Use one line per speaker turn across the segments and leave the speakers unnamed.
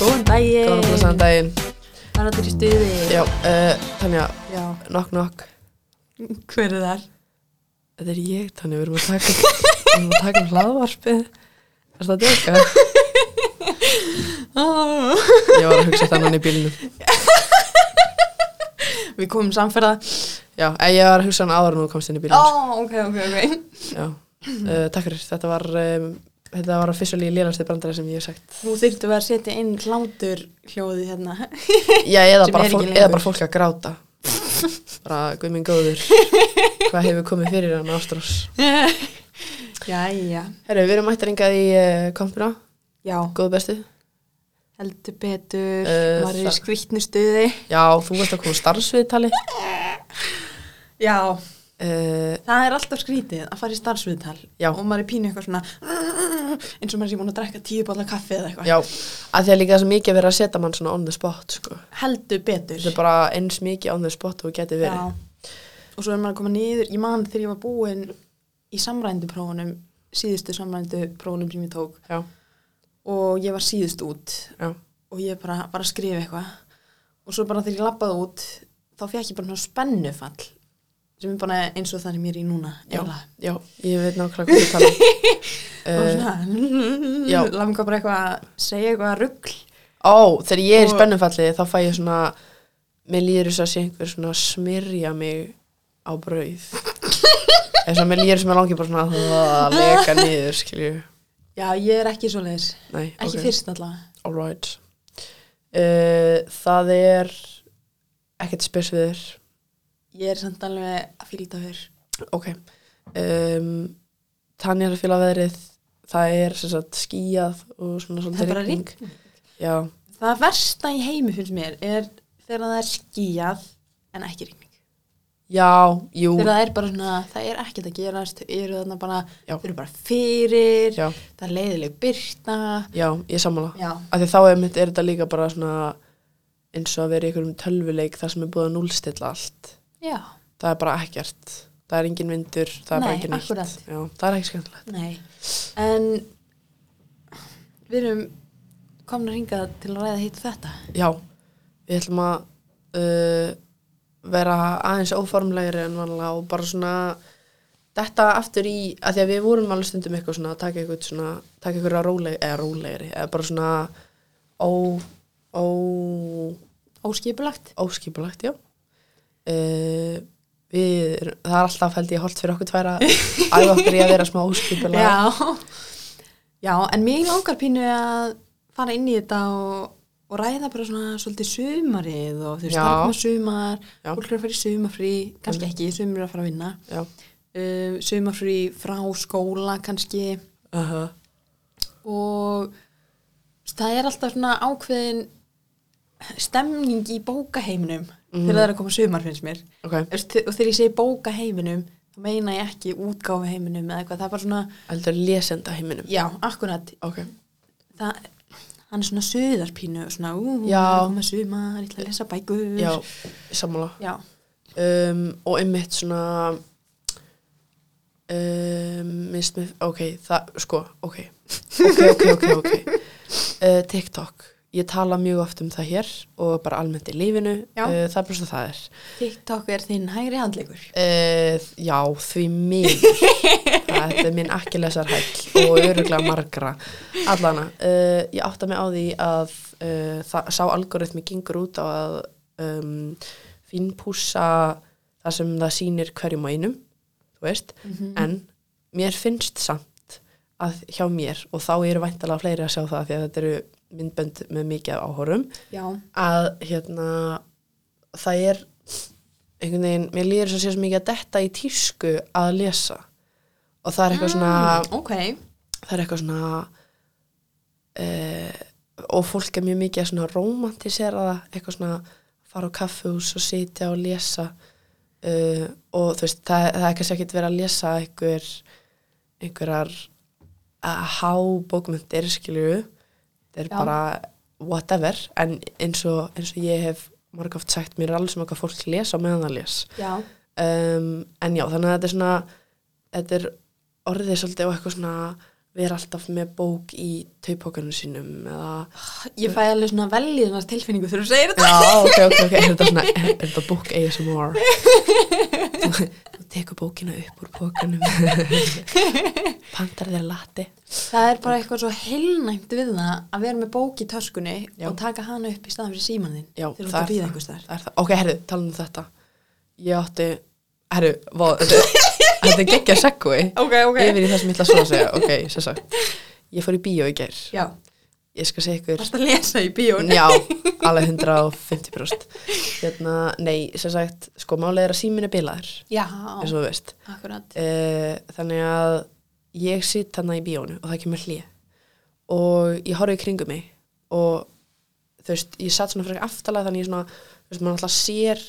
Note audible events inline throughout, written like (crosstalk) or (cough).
Góðan daginn.
Góðan og blessaðan daginn
Það er allir í stuði.
Já, uh, Tanja,
Já.
knock knock
Hver er þar?
Þetta er ég, Tanja, við erum að taka Við erum að taka um hlaðvarpið Er það að djóka?
Ah.
Ég var að hugsa þannan í bílnum
Við komum samferða.
Já, eh, ég var að hugsa hann áður en þú komst inn í
Ó,
bílnum
ok, ok, ok.
Já, uh, takk fyrir, þetta var um, Þetta var officially lénastið brandara sem ég hef
(laughs)
sagt
Nú þyrftum við að setja inn hlátur hljóði hérna.
(laughs) Já,
Sem
eða,
er
bara
ekki
fólk,
lengur.
eða bara fólk að gráta Bara, guð minn góður Hvað hefur komið fyrir hann ástrós
Jæja.
Herru, við erum mættaringað í uh, kompuna
Já,
Góð bestu
heldur betur.
Eh,
Maður er í
það-
skvittnu stuði.
Já, þú veist að koma starfsviðtali
Já.
uh,
Það er alltaf skrítið að fara í starfsviðtal
Já.
og maður er pínu eitthvað svona eins og maður sé búin að drekka tíu bolla kaffi eða eitthvað.
Já, að því að líka þess að mikið verið að setja mann svona on the spot, sko.
Heldur betur.
Þetta er bara eins mikið on the spot og getið verið.
Já. Og svo er maður að koma niður, ég man þegar ég var búin í samrænduprófunum, síðustu samrænduprófunum sem ég tók
Já.
og ég var síðust út
Já.
og ég bara var að skrifa eitthvað og svo bara þegar ég lappaði út þá fekk ég bara svona spennufall sem er bara eins og þannig mér í núna
Já.
eiginlega.
Já, ég veit nákvæmlega hvað ég tala um.
(laughs) og
Eh, já.
(laughs) svona langa bara eitthvað að segja eitthvað ruggl
Ó, þegar ég er í
Og-
spennumfalli þá fæ ég svona, mér líður þess að sé einhver svona að smyrja mig á
(laughs)
brauð. Eða svona, mér líður sem að langi bara svona að það leka niður, skilju.
Já, ég er ekki svo leiðis,
Nei,
ekki
ok.
fyrst allavega
All right. Uh, það er ekkert spes við þér.
Ég er samt alveg að fylgta fyrr
Ok um, Tanja er að fíla veðrið Það er sem sagt skíjað og
Það
svona svolítið
er bara
rigning.
rigning
Já,
Það versta í heimi finnst mér er þegar það er skíjað en ekki rigning.
já, jú
Þegar það er bara svona, það er ekkert að gerast, þau eru þarna bara,
Já.
þau eru bara fyrir,
Já,
það er leiðileg byrta.
já, ég sammála
Já,
Af því þá er, mitt, er þetta líka bara svona eins og að vera í einhverjum tölvuleik þar sem er búið að núlstilla allt
já,
Það er bara ekkert Það er engin vindur, það er bara
Nei,
engin neitt
akkúrat.
Já, það er ekki skemmtilegt
nei. En við erum komin að ringa til að ræða hitt þetta.
Já, við ætlum að uh, vera aðeins óformlegri en vanlega og bara svona þetta aftur í, að því að við vorum alveg stundum eitthvað svona að taka eitthvað svona taka eitthvað róleg, eða rólegri eða bara svona ó, ó,
Óskipulagt.
óskipulagt, já uh, við, erum- það er alltaf held ég holt fyrir okkur tværa að okkur í að vera smá óskipulagt
Já. Já, en mér langar pínu að fara inn í þetta og, og ræða bara svona svolítið sumarið og þú veist,
Já.
það er koma sumar,
Já. Mm.
fólk er að fara í sumarfrí, kannski ekki, sumar er að fara að vinna,
Já,
uh, sumarfrí frá skóla kannski
uh -huh.
og það er alltaf svona ákveðin stemning í bókaheiminum
Mhm.
þegar það er að koma sumar finnst mér.
ok,
Þú veist, Og þegar ég segi bókaheiminum, þá meina ég ekki útgáfi heiminum eða eitthvað, það er bara svona,
heldur lesenda heiminum
já, akkurat,
Ok,
það, hann er svona söðarpínu og svona, ú,
Já.
það er að koma sumar, ég ætla að lesa bækur.
já, sammála
Já,
um, og einmitt svona um, minnst mér, ok, það, sko, ok ok, ok, ok, ok uh, TikTok, ég tala mjög oft um það hér og bara almennt í lífinu
Já.
uh, það er bara svo það er
TikTok er þinn hægri handleikur.
uh, já, því miður það þetta er minn ekki lesar hæll og öruglega margra allana, uh, ég átta mig á því að uh, það, sá algoritmi gengur út á að um, fínpússa það sem það sýnir hverjum á einum þú veist,
Mhm.
en mér finnst samt að hjá mér og þá eru væntalega fleiri að sjá það því að þetta eru myndbönd með mikið af áhorum
Já,
að hérna það er einhvern veginn, mér líður svo sér svo mikið að detta í tísku að lesa og það er eitthvað svona
Mm, ok.
það er eitthvað svona uh, og fólk er mjög mikið að svona romantisera það, eitthvað svona fara á kaffehús og sitja og lesa uh, og þú veist það, það er kannski ekkert verið að lesa einhver einhverjar að há bókmyndir skilju þetta er
Já.
bara whatever en eins og, eins og ég hef marg oft sagt mér er alveg sem okkar fólk lesa og meðan það les
Já,
um, en já þannig að þetta er svona þetta er orðið svolítið og eitthvað svona vera alltaf með bók í taupókanum sínum eða
Ég fæ alveg svona velíðunar tilfinningu þegar þú segir þetta.
Já, ok, ok, ok, er þetta svona, er er þetta bók ASMR? Þú- Þú tekur bókina upp úr bókanum, pantar þér lati.
Það er bara eitthvað svo heilnæmt við það að vera með bók í töskunni
Já.
og taka hana upp í staðan fyrir síman þinn
Já,
til að býða einhvers þar.
það er það. Ok, herru, tala um þetta. Ég átti, herru, vá, (laughs) þetta þetta er geggja segvei.
Ok,
Yfir í það sem ég ætla að svona að segja, ok, sem sagt. Ég fór í bíó í gær.
Já,
Ég skal segja ykkur
varst að lesa í bíónu.
Já, alveg 150 brúst Hérna, nei, sem sagt sko, málið er að síminn er bilaður
Já,
eins og þú veist
akkurat.
uh, þannig að ég sitt hann í bíónu og það kemur hlið og ég horfði í kringum mig og þú veist, ég satt svona frekar aftalega þannig ég svona, þú veist, maður alltaf sér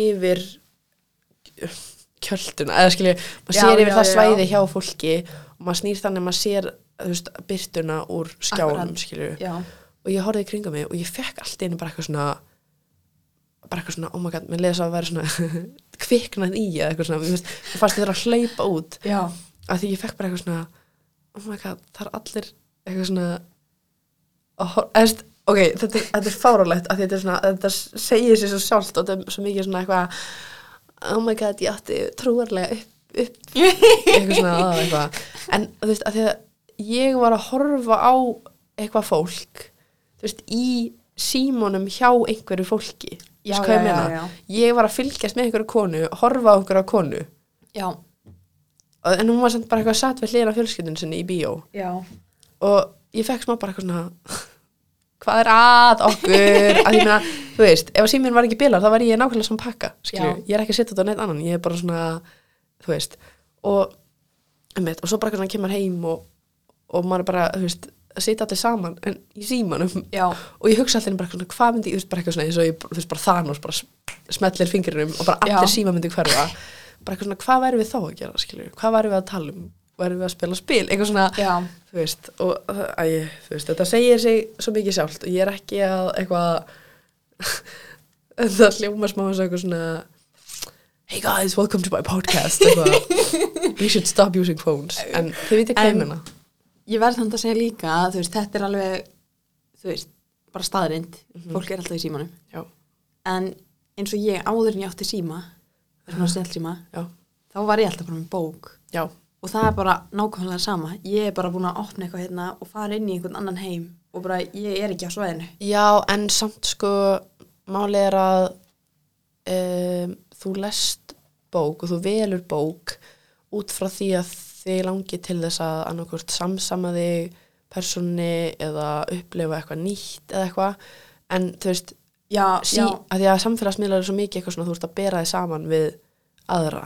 yfir kjölduna, eða skilja maður
Já,
sér yfir
já,
það
já.
svæði hjá fólki og maður snýr þannig að maður sér þú veist, byrtuna úr skjánum
Akkurat.
skilju
Já,
og ég horfði í kringa mig og ég fekk allt í einu bara eitthvað svona bara eitthvað svona, oh my god, mér leiði svo að vera svona (laughs) kviknað í eða eitthvað svona mér finnst- mér fannst ég þurfa að hlaupa út
já,
af því ég fekk bara eitthvað svona oh my god, það er allir eitthvað svona að hor- eða þú veist, ok, þetta, er- þetta er fárálegt af því þetta er svona, þetta segir sér svo sjálft og þetta er svo mikið svona eitthvað oh my god, ég átti trúarlega upp, upp eitthvað svona að eitthvað en þú veist, af því að ég var að horfa á eitthvað fólk þú veist, í símónum hjá einhverju fólki
Já,
Veistu hvað ég
já, já,
meina? ég var að fylgjast með einhverju konu horfa á einhverju konu
já,
Og- en hún var samt bara eitthvað satt við hliðina fjölskyldun sinni í bíó
já,
og ég fekk smá bara eitthvað svona hvað er að okkur að ég meina, þú veist, ef að síminn var ekki bilar þá var ég nákvæmlega saman pakka, skilju
Já.
ég er ekki að setja þetta á neitt annan, ég er bara svona þú veist, og einmitt, og svo bara hvernig kemur heim og, og maður er bara, þú veist, að sitja allir saman en í símanum
já,
og ég hugsa allir um bara eitthvað svona, hvað myndi, ég veist, bara eitthvað svona eins og ég, þú veist, bara Thanos, bara smetlir fingrinum og bara allir
Já.
síma myndi hverfa bara eitthvað svona, hvað væri við þá að gera, skilju hvað væri við að tala um, væri við að spila spil eitthvað svona,
já,
þú veist, og æ, þú veist, þetta segir sig svo mikið sjálft og ég er ekki að eitthvað (laughs) það sljóma smá eins og eitthvað svona hey guys, welcome to my podcast eitthvað,
(laughs)
we should stop using phones en þau veitir hvað ég
En-
menna
Ég verð þannig að segja líka að þú veist, þetta er alveg, þú veist, bara staðrind.
Mhm.
Fólk er alltaf í símanum.
Mm. já,
En eins og ég áður en ég átti síma, þessum að snjálsíma,
já,
þá var ég alltaf bara með bók.
já,
og það er bara nákvæmlega sama ég er bara búin að opna eitthvað hérna og fara inn í einhvern annan heim og bara ég er ekki á svæðinu
já, en samt sko máli er að um, þú lest bók og þú velur bók út frá því að þið langi til þess að annarkvort samsama þig persónni eða upplifa eitthvað nýtt eða eitthvað en þú veist,
já,
sí, að því að samfélagsmiðlar er svo mikið eitthvað svona þú ert að bera þig saman við aðra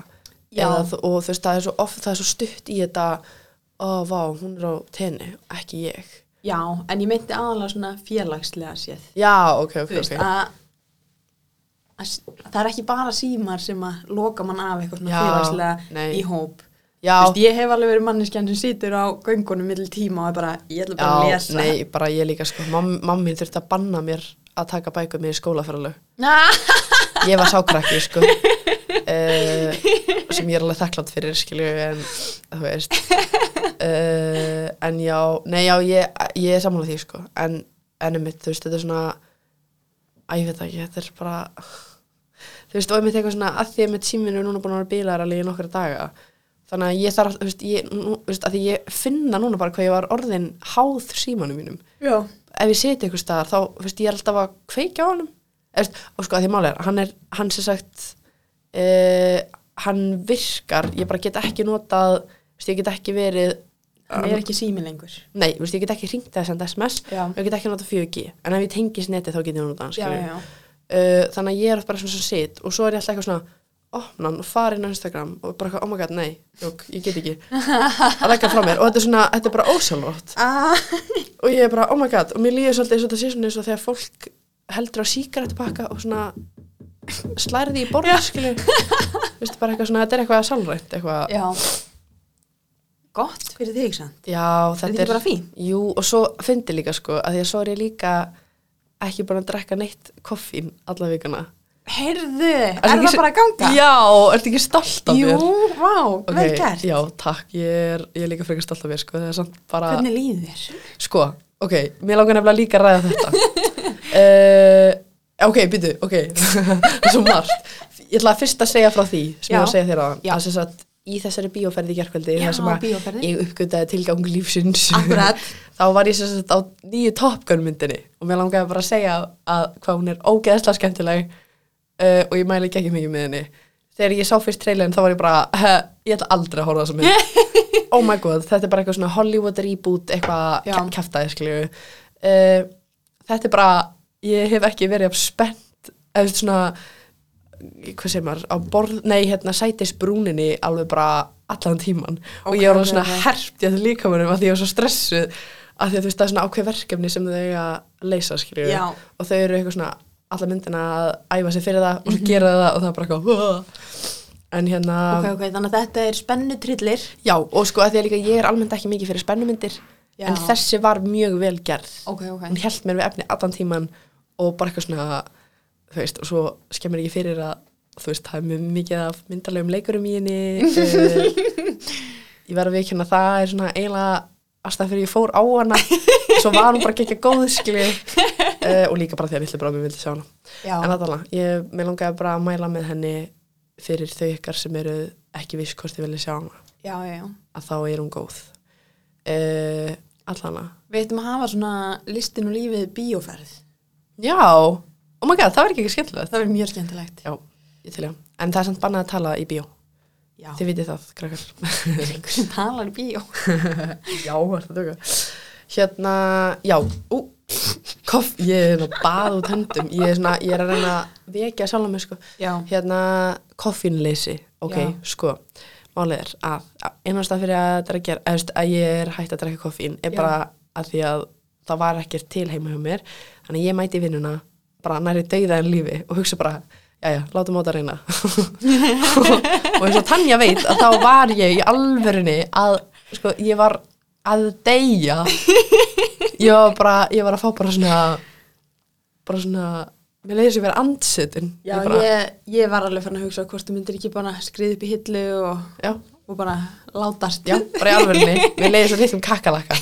Já.
eða, þú- og þú veist, það er svo oft, það er svo stutt í þetta ó, vá, hún er á tenni ekki ég.
já, en ég meinti aðalega svona félagslega séð
Já, ok, ok,
þú veist
ok
að, að s- það er ekki bara símar sem að loka mann af eitthvað svona
Já,
félagslega
nei.
í hóp
Já,
Þú veist, ég hef alveg verið manneskjan sem situr á göngunum middel tíma og er bara, ég ætla bara að
já,
lesa (laughs)
nei, bara ég líka sko, mamma mam mín þurfti að banna mér að taka bækur mér í skólafæralög
nei.
ég var sákrakki sko uh, sem ég er alveg þakklátt fyrir skilju en þú veist uh, en já, nei já ég, ég er sammála því sko en ennum mitt, þú veist, þetta er svona að ég veit það ekki, þetta er bara þú veist, og ég mitt eitthvað svona að því að mitt síminu er núna búin að vera bílar alveg í nokkra daga þannig að ég þarf, þú veist, ég, nú, þú veist að því ég finna núna bara hvað ég var orðin háð símanum mínum
já,
ef ég seti einhver staðar þá veist, ég er alltaf að kveikja á honum Erst, og sko að því máli er, hann er hann sem sagt uh, hann virkar, ég bara get ekki notað, veist, ég get ekki verið
það er ekki sími lengur
nei, veist, ég get ekki hringt að senda sms
Já.
og ég get ekki notað 4G, en ef ég tengis neti þá get ég notað hann,
já,
skilurðu.
já,
Eh, þannig að ég er oft bara svona sem sitt og svo er ég alltaf eitthvað svona opna hann og fara inn á Instagram og bara eitthvað, oh my god, nei, jók, ég get
(laughs)
ekki að leggja frá mér og þetta er svona, þetta er bara ósjálfrátt
ah,
og ég er bara, oh my god, og mér líður svolítið eins og þetta sé svona eins og þegar fólk heldur á síkaretupakka og svona (laughs) slærði í borð, skilju veistu, bara eitthvað svona, þetta er eitthvað sálrænt eitthvað,
já Ah. gott fyrir þig, sant
já, þetta
þetta ekki bara fínt?
jú, og svo fyndi líka, sko, að því að svo er ég líka ekki búin að drekka neitt koffín alla vikuna
heyrðu, er það bara að ganga?
Já, ertu ekki stolt af
Jú,
mér?
vá,
Ok,
vel gert
Já, takk, ég er, ég er líka frekar stolt af mér sko, það er samt bara
Hvernig líður þér?
Sko, ok, mér langar nefnilega líka að ræða þetta
(laughs)
uh, Ok, býtu, ok (laughs) Það er svo margt Ég ætla að fyrst að segja frá því sem
Já.
ég var að segja þér á
Já.
það að, Í þessari bíóferði í gerkvöldi
Já,
þar sem að
bíóferðin.
ég uppgötaði tilgang lífsins
Akkurat.
(laughs) Þá var ég sem sagt á nýju Top Gun myndinni og mér langaði bara að segja að hvað hún er ógeðslega skemmtileg uh, og ég mæli ekki mikið með henni Þegar ég sá fyrst trailerin þá var ég bara (laughs) "Heh, ég ætla aldrei að horfa á þessa mynd oh my god, þetta er bara eitthvað svona Hollywood reboot, eitthvað
Já.
ke- kjaftaði skilju uh, þetta er bara, ég hef ekki verið jafn spennt, eða svona hvað segir maður, á borð nei, hérna, sætis brúninni alveg bara allan tíman og
Ok,
ég var alveg
ok,
svona
ok.
herpt í þetta líkamunum að því ég var svo stressuð að því að þú veist það er svona ákveð verkefni sem þau eiga að leysa skilju
Já.
og þau eru eitthvað svona alla myndina að æfa sig fyrir það og svo gera þau það og það er bara eitthvað "Wah." en hérna
Ok, ok, þannig að þetta er spennu trillir
Já, og sko að því að líka ég er almennt ekki mikið fyrir spennumyndir
Já.
en þessi var mjög vel gerð
Ok, ok
hún held mér við efni allan tíman og bara eitthvað svona þú veist, og svo skemmir ekki fyrir að þú veist, það er mjög mikið af myndarlegum leikurum í
(laughs)
henni uh, ég verð að viðkynna það er svona eiginlega aðstæðan fyrir ég fór á hana svo var hún bara ekki góð skilju uh, og líka bara því að litlu brámi vildi sjá hana
Já,
En aðdala, ég, mér langaði bara að mæla með henni fyrir þau ykkar sem eru ekki viss hvort þið vilja sjá hana
já, já, já
að þá er hún góð uh, allana
Við ættum að hafa svona listin og lífið bíóferð
já, oh my god, það var ekki ekki skemmtilegt
Það verður mjög skemmtilegt
já, ég til ég, en það er samt bannað að tala í bíó
Já,
þið vitið það, krakkar
það er einhver sem talar í bíó
já, var það dökka hérna, já, ú koff, ég er hérna bað út höndum ég er svona, ég er að reyna að vekja sjálf mig sko,
Já,
hérna koffínleysi, ok,
Já.
sko málið er að einhverstað fyrir að, drekja, að, veist, að ég er hægt að drekka koffín er
Já.
bara að því að það var ekkert til heima hjá mér þannig að ég mæti í vinnuna bara næri dauða en lífi og hugsa bara jæja, látum á það reyna (laughs) og eins og Tanja veit að þá var ég í alvörunni að sko, ég var að deyja ég var bara ég var að fá bara svona bara svona, mér leiði sem vera andsetin
já
bara,
ég, ég var alveg fann að hugsa hvort þú myndir ekki bara skrið upp í hillu og,
já,
og bara látast
Já, bara í alvörinni, mér leiði svo litlum kakalakka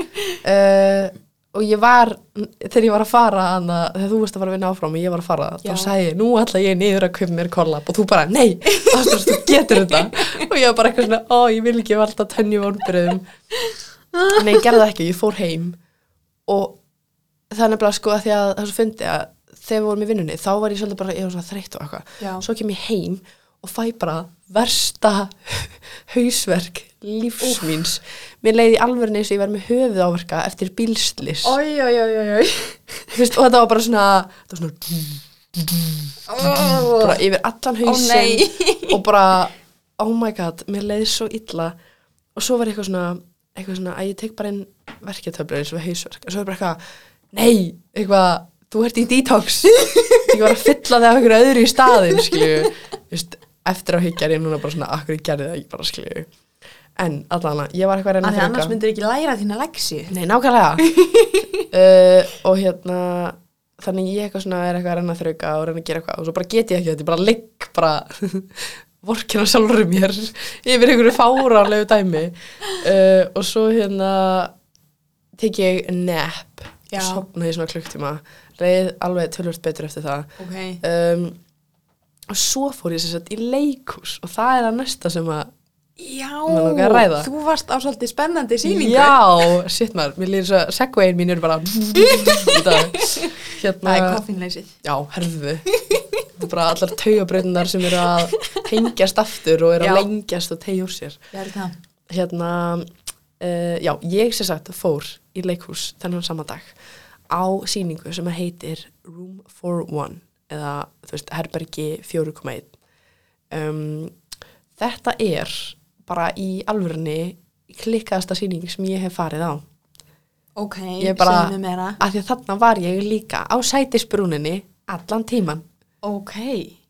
uh, Og ég var, þegar ég var að fara hana, þegar þú veist að fara að vinna áfram og ég var að fara,
Já.
þá sagði ég, nú ætla ég niður að kaupa mér kollab og þú bara, nei, Ástrós, þú getur þetta og ég var bara eitthvað svona, ó, ég vil ekki valda tönni vonbröðum Nei, ég gerði það ekki, ég fór heim og það er nefnilega sko að því að það er svo fyndi að þegar við vorum í vinnunni, þá var ég svolítið bara, ég var svona þreytt og eitthvað
Já.
svo kem ég heim og fæ bara versta (laughs) hausverk lífs míns mér leiði alvörinni eins og ég verið með höfuðáverka eftir bílslis og
(laughs) Oj, oj, oj, oj, oj
þetta var bara svona, þetta var svona
oh,
bara yfir allan
Sko, Ó, nei.
hausinn (laughs) og bara, oh my god mér leiði svo illa og svo var eitthvað svona, eitthvað svona að ég tek bara inn verketöflur eins og hausverk og svo er bara eitthvað, nei, eitthvað þú ert í detox (laughs) ég var að fylla það af einhverju öðru í staðin skilju, Vist, eftir á higgjar ég núna bara svona, akkur ég gerði það ekki bara skilju en allan, ég var eitthvað að reyna
Þannig
að
annars
þrauka.
myndir ekki læra þína leksi
Nei, nákvæmlega uh, Og hérna Þannig ég eitthvað svona er eitthvað að reyna að þrauka og reyna að gera eitthvað og svo bara get ég ekki þetta, ég bara (laughs) ligg bara vorkina sjálfur mér yfir einhverju fáránlegu dæmi uh, og svo hérna tek ég nap
Já.
sopnaði svona klukktíma reið alveg tölvöld betur eftir það
Ok,
um, og svo fór ég sem sagt í leikus og það er að næsta sem að Mig langar
já
að ræða.
Þú varst á svolítið spennandi sýningu
Já, shit maður, mér líður svo að segwayin mín er
(laughs)
bara í dag.
Það er
hérna,
koffinleysið
já, herðu þetta er bara allar taugabröðnar sem eru að tengjast aftur og eru
Já.
að lengjast og tegja úr sér
Ég held það
hérna, uh, já, ég sem sagt fór í leikhús þennan sama dag á sýningu sem að heitir Room 41 eða, þú veist, herbergi 4.1 um, þetta er bara í alvörunni klikkaðasta sýning sem ég hef farið á
Ok,
ég er bara,
segðu mér meira
af því að þarna var ég líka á sætisbrúninni allan tíman
Ok,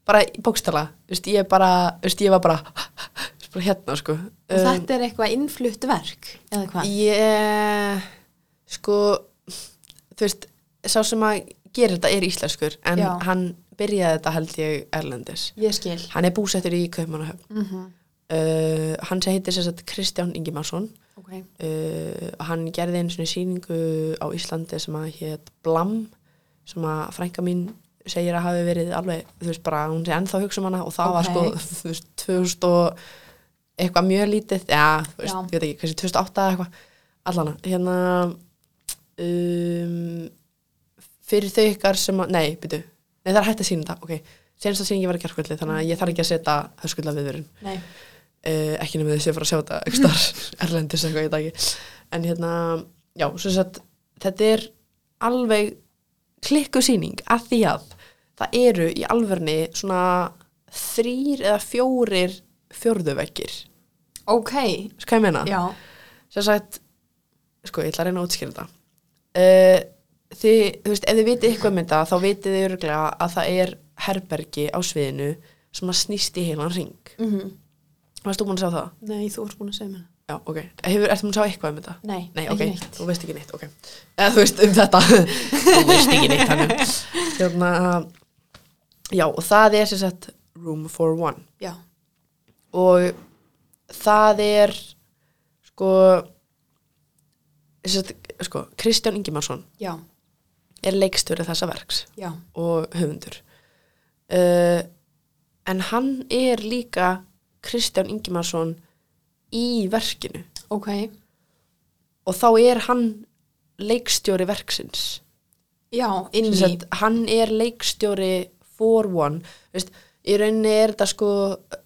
bara í bókstala, þú veist, ég bara þú veist, ég var bara, (laughs) þú veist, bara hérna sko.
og þetta er eitthvað innflutt verk eða hvað?
Ég, sko, þú veist, sá sem að gera þetta er íslenskur, en
Já.
hann byrjaði þetta held ég Erlendis
Ég skil.
hann er búsettur í Kaupmannahöfn
Mm
uh, hann sem heitir sér satt Kristján Ingimarsson
Ok.
uh, hann gerði einu svona sýningu á Íslandi sem að hétt Blam sem að frænka mín segir að hafi verið alveg, þú veist bara hún segir ennþá hugsa um hana og það
Ok.
var sko þú veist, 2000 og eitthvað mjög lítið, já, þú veist,
Já.
ég veit ekki kannski 2008 eða eitthvað, allana hérna um, fyrir þau ykkar sem að, nei, byrju nei það er hægt að sína þetta, ok, senast að síningi var ekki hverskvöldi þannig að ég þarf ekki að setja höskulda viðvörun
Nei.
uh, ekki nema þessi að fara að sjá þetta ekki starf erlendis eitthvað í dagi en hérna, já, svo sett þetta er alveg klikku sýning að því að það eru í alverni svona þrýr eða fjórir fjórðuvekkir,
Ok.
sko hvað ég menna
Já.
sem sagt, sko ég ætla að reyna að útskýra þetta uh, þið, þú veist, ef þið vitið eitthvað um þetta þá vitið þið örglega að það er herbergi á sviðinu sem að snýst í heilan ring
Mm
varst þú búin að sjá það?
Nei, þú ert búin að segja mér.
Já, ok. Hefur, ertu múin að sjá eitthvað um þetta?
Nei,
Nei,
ekki
ok,
neitt.
þú veist ekki neitt, ok. Eða þú veist um þetta. þú veist ekki neitt þannig. (laughs) Hérna, já, og það er sem sagt Room for One.
Já.
Og það er, sko, sem sagt, sko, Kristján Ingimarsson
Já.
er leikstjóri þessa verks
Já.
og höfundur. Uh, en hann er líka Kristján Ingimarsson í verkinu.
Ok.
og þá er hann leikstjóri verksins
Já, inn í.
Sem sagt, hann er leikstjóri for one Veist, í rauninni er þetta sko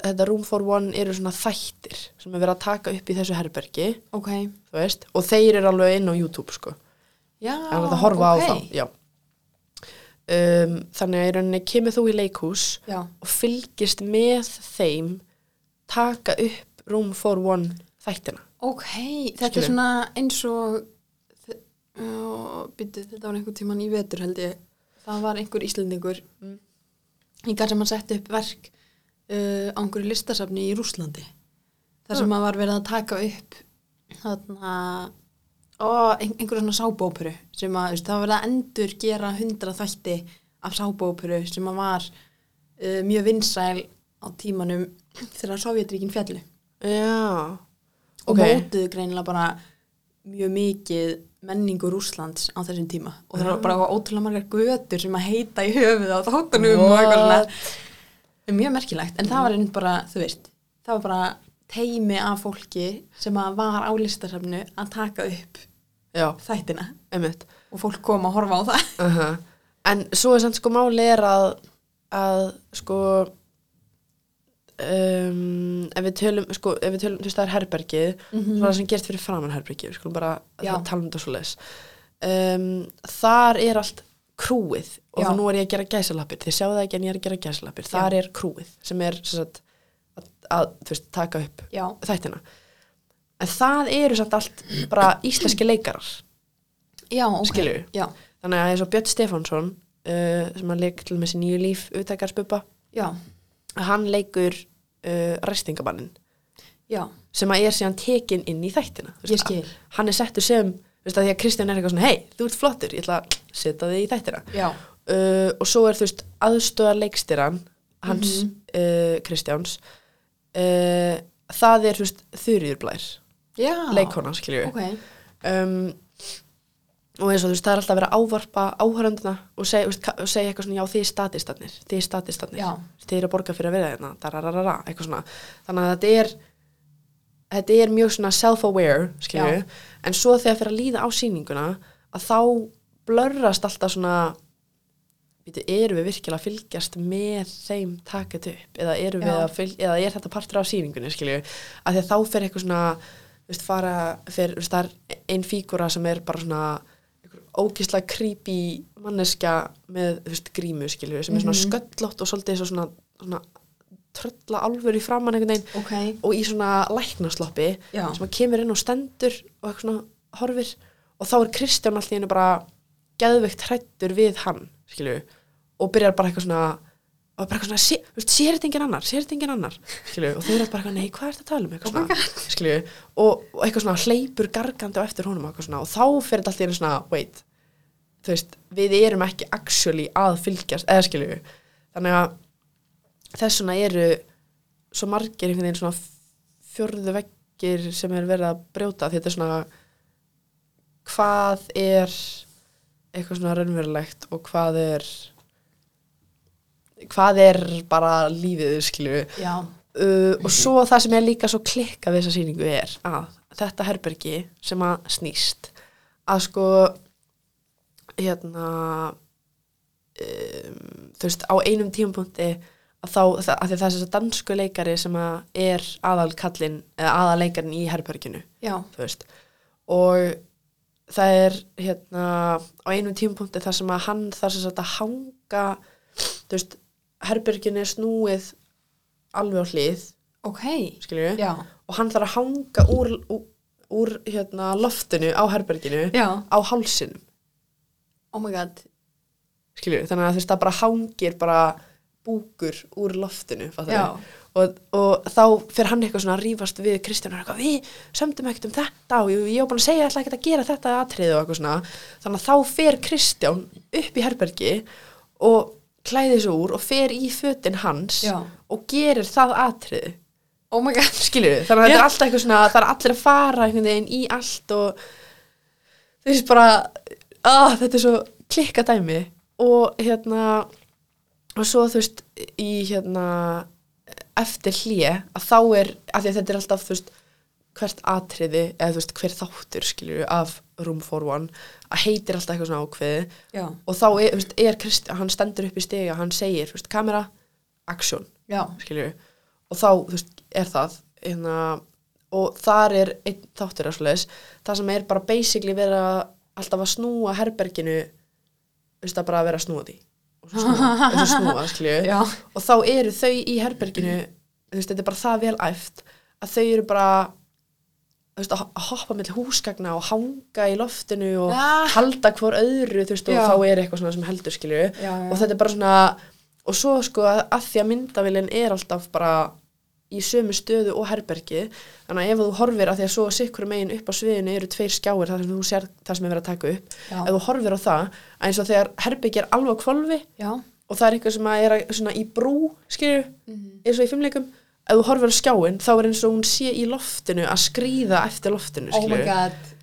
þetta room for one eru svona þættir sem er verið að taka upp í þessu herbergi
Ok.
þú veist, og þeir eru alveg inn á YouTube sko,
Já.
það er hægt að horfa
Ah, ok.
á þá já um, þannig að í rauninni kemur þú í leikhús
Já.
og fylgist með þeim taka upp room for one þættina
Ok, þetta
Skilurðu?
er svona eins og byrju, þetta var einhver tíman í vetur held ég það var einhver íslendingur
Mm.
hingað sem að setja upp verk uh, á einhverju listasafni í Rúslandi þar
Oh.
sem að var verið að taka upp þarna ó, ein, einhverju svona sábóperu sem að þú veist, það var verið að endur gera hundra þætti af sábóperu sem að var uh, mjög vinsæl á tímanum þegar Sovjetríkin fjallu
já,
og
Ok.
mótuðu greinilega bara mjög mikið menningur Úslands á þessum tíma og það
Ah.
var bara ótrúlega margar götur sem að heita í höfuð á þáttunum um og eitthvað svona Það er mjög merkilegt, en
Mm.
það var einmitt bara, þú veist það var bara teimi af fólki sem að var á listasafnu að taka upp
já,
þættina
einmitt
og fólk kom að horfa á það
-huh. En svo er samt sko máli er að, að sko um, ef við tölum, sko, ef við tölum, þú veist það er herbergið, mm -hmm. það sem gerst fyrir framan herbergið, við skulum bara
Mhm. Já.
tala um þetta svo leis. Um, þar er allt krúið og
Já.
þá nú er ég að gera gæsalappir, þið sjáu það ekki en ég er að gera gæsalappir, þar er krúið sem er sem sagt, að, að þú veist, taka upp
Já,
þættina. En það eru samt allt bara íslenski leikarar
já, ok
Skilurðu?
Já,
Þannig að eins og Björn Stefánsson uh, sem hann leik til með sér nýju líf uttækarspuppa,
já,
hann leikur uh, restingabannin
já,
sem að er síðan tekin inn í þættina þú veist,
Ég skil.
að- hann er settur sem, þú veist að því að Kristján er eitthvað svona hei, þú ert flottur, ég ætla að setja þig í þættina
já,
uh, og svo er þú veist aðstöðar leikstyran hans
Mhm.
uh, Kristjáns uh, það er þú veist þurriðurblær,
já
leikona skiljum
Ok,
um, og eins og þú veist, það er alltaf að vera að ávarpa áhörendina og segja, þú veist, ka- og segja eitthvað svona, já, þið er statistatnir, þið er statistatnir
Já.
þið er að borga fyrir að vera þeirna, dararara, eitthvað svona þannig að þetta er þetta er mjög svona self-aware skilju,
Já.
en svo þegar fyrir að líða á sýninguna, að þá blörrast alltaf svona býtu, eru við virkilega að fylgjast með þeim taket upp eða, eru við
Já.
að fylg, eða er þetta partur af sýningunni skilju, að því að þá fer eitthvað svona þú veist, fara, fer, þú veist, það er einn fígura sem er bara svona einhver ógeðslega creepy manneskja með þú veist, grímu skilju sem er svona sköllótt og svolítið eins og svona, svona trölla alvöru í framann einhvern veginn
ok,
og í svona læknasloppi
já,
sem að kemur inn og stendur og eitthvað svona horfir og þá er Kristján alltaf einu bara geðveikt hrættur við hann skilju, og byrjar bara eitthvað svona og bara eitthvað svona, sé, þú veist, sér þetta engin annar sér þetta engin annar, skilju, og þau eru bara eitthvað nei, hvað ertu að tala um, eitthvað svona, skilju og, og eitthvað svona hleypur gargandi á eftir honum og eitthvað svona, og þá fer þetta alltaf einu svona wait, þú veist, við erum ekki actually að fylgjast, eða skilju þannig að þessuna eru svo margir einhvern veginn svona fjörðu veggir sem er verið að brjóta því þetta er svona hvað er eitthvað svona raunverulegt og hvað er hvað er bara lífið skilju
já,
uh, og svo það sem er líka svo klikka við þessa sýningu er að þetta herbergi sem að snýst að sko hérna um, þú veist á einum tímapunkti að þá, að því að það er þess að dansku leikari sem að er aðal kallinn eða aðal leikarin í herberginu
já,
þú veist og það er hérna á einum tímpunkti þar sem að hann þar sem sagt að hanga þú veist, herbergin er snúið alveg á hlið
ok
skilju,
já,
og hann þarf að hanga úr, úr, úr hérna loftinu á herberginu
já,
á hálsinum,
oh my god
skilju þannig að þú veist, það bara hangir bara búkur úr loftinu, fattar
já,
og, og þá fyrir hann eitthvað svona að rífast við Kristján og er eitthvað, við sömdum ekkert um þetta og ég, ég var búin að segja alltaf ekkert að gera þetta atriði og eitthvað svona, þannig að þá fer Kristján upp í herbergi og klæði sig úr og fer í fötin hans
Já.
og gerir það atriði
oh my god
skilur við, þannig að þetta
Já.
er alltaf eitthvað svona það er allir að fara einhvern veginn í allt og þú veist bara að þetta er svo klikka dæmi og hérna og svo þú veist í hérna eftir hlje að þá er, af því að þetta er alltaf þú veist hvert atriði, eða þú veist hver þáttur skilur við af Room for One að heitir alltaf eitthvað svona ákveði
já,
og þá er, þú veist, er Krist, hann stendur upp í stiga hann segir, þú veist, kamera, action
já,
skilju og þá þú veist, er það hérna, og þar er einn þáttur af svoleiðis, það sem er bara basically verið að alltaf að snúa herberginu þú veist að bara vera að snúa því og svo snúa, og svo
(laughs)
snúa skilju
já
og þá eru þau í herberginu þú veist, þetta er bara það vel æft að þau eru bara þú veist, að ho- að hoppa með húsgagna og hanga í loftinu og
Ah.
halda hvor öðru þú veist, og
Já.
þá er eitthvað svona sem heldur skilju
Já, já.
og þetta er bara svona og svo sko að, að því að myndavillin er alltaf bara í sömu stöðu og herbergi þannig að ef þú horfir að því að svo sikkur megin upp á sviðinu eru tveir skjáir þar sem þú sér það sem er verið að taka upp
Já.
ef þú horfir á það, að eins og þegar herbergi er alveg á kvolfi
já,
og það er eitthvað sem að er að, svona í brú skilju, eins og í fimmleikum ef þú horfir á skjáin þá er eins og hún sé í loftinu að skríða eftir loftinu
oh my
skilurðu.
god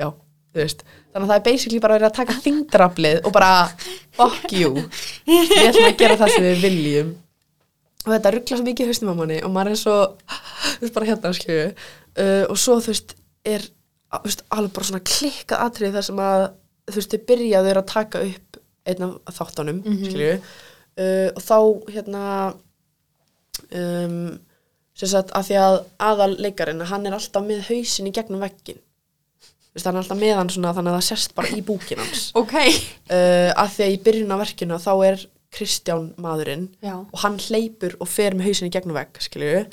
Já, þú veist þannig að það er basically bara að vera að taka þingdraflið og bara fuck you (laughs) við ætlum að gera það sem við viljum og þetta ruggla svo mikið í haustum á manni og maður er svo þú veist bara hérna skilju uh, og svo þú veist er á- þú veist, alveg bara svona klikkað atrið þar sem að þú veist þau byrja þau eru að taka upp einn af þáttunum mm skilju uh, og þá hérna um, sem sagt að því að aðal leikarinn hann er alltaf með hausin í gegnum veggin Þú veist, hann er alltaf með hann svona þannig að það sérst bara í búkin hans
ok,
uh, að því að í byrjun á verkinu þá er Kristján maðurinn
já,
og hann hleypur og fer með hausinni gegnum vegg skilju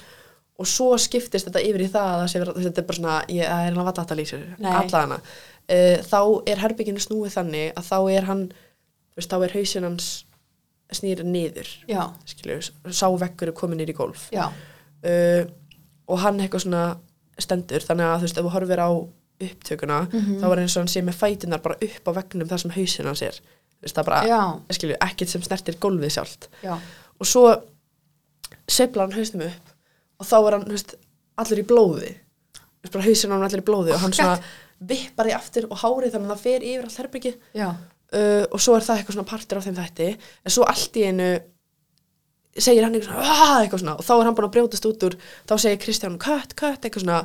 og svo skiptist þetta yfir í það að það sé, verið- þetta er bara svona ég það er hann að vata þetta lýsir
Nei.
allana uh, þá er herbygginu snúið þannig að þá er hann þú veist, þá er hausinn hans snýr niður
já,
skilju, sá veggur er komin niður í golf
já
uh, og hann eitthvað svona stendur þannig að þú veist ef þú horfir á upptökuna þá er eins og hann sé með fætunar bara upp á veggnum þar sem hausinn hans er þú veist það er bara,
Já.
skilju, ekkert sem snertir gólfið sjálft
já,
og svo sveiflar hann hausnum upp og þá er hann, þú veist, allir í blóði Þú veist, bara hausinn á hann allir í blóði og hann svona vippar því aftur og hárið þannig að það fer yfir allt herbyggið
já,
uh, og svo er það eitthvað svona partur á þeim þætti en svo allt í einu segir hann eitthvað svona, "Ah", eitthvað svona og þá er hann búin að brjótast út úr þá segir Kristján kött, kött, eitthvað svona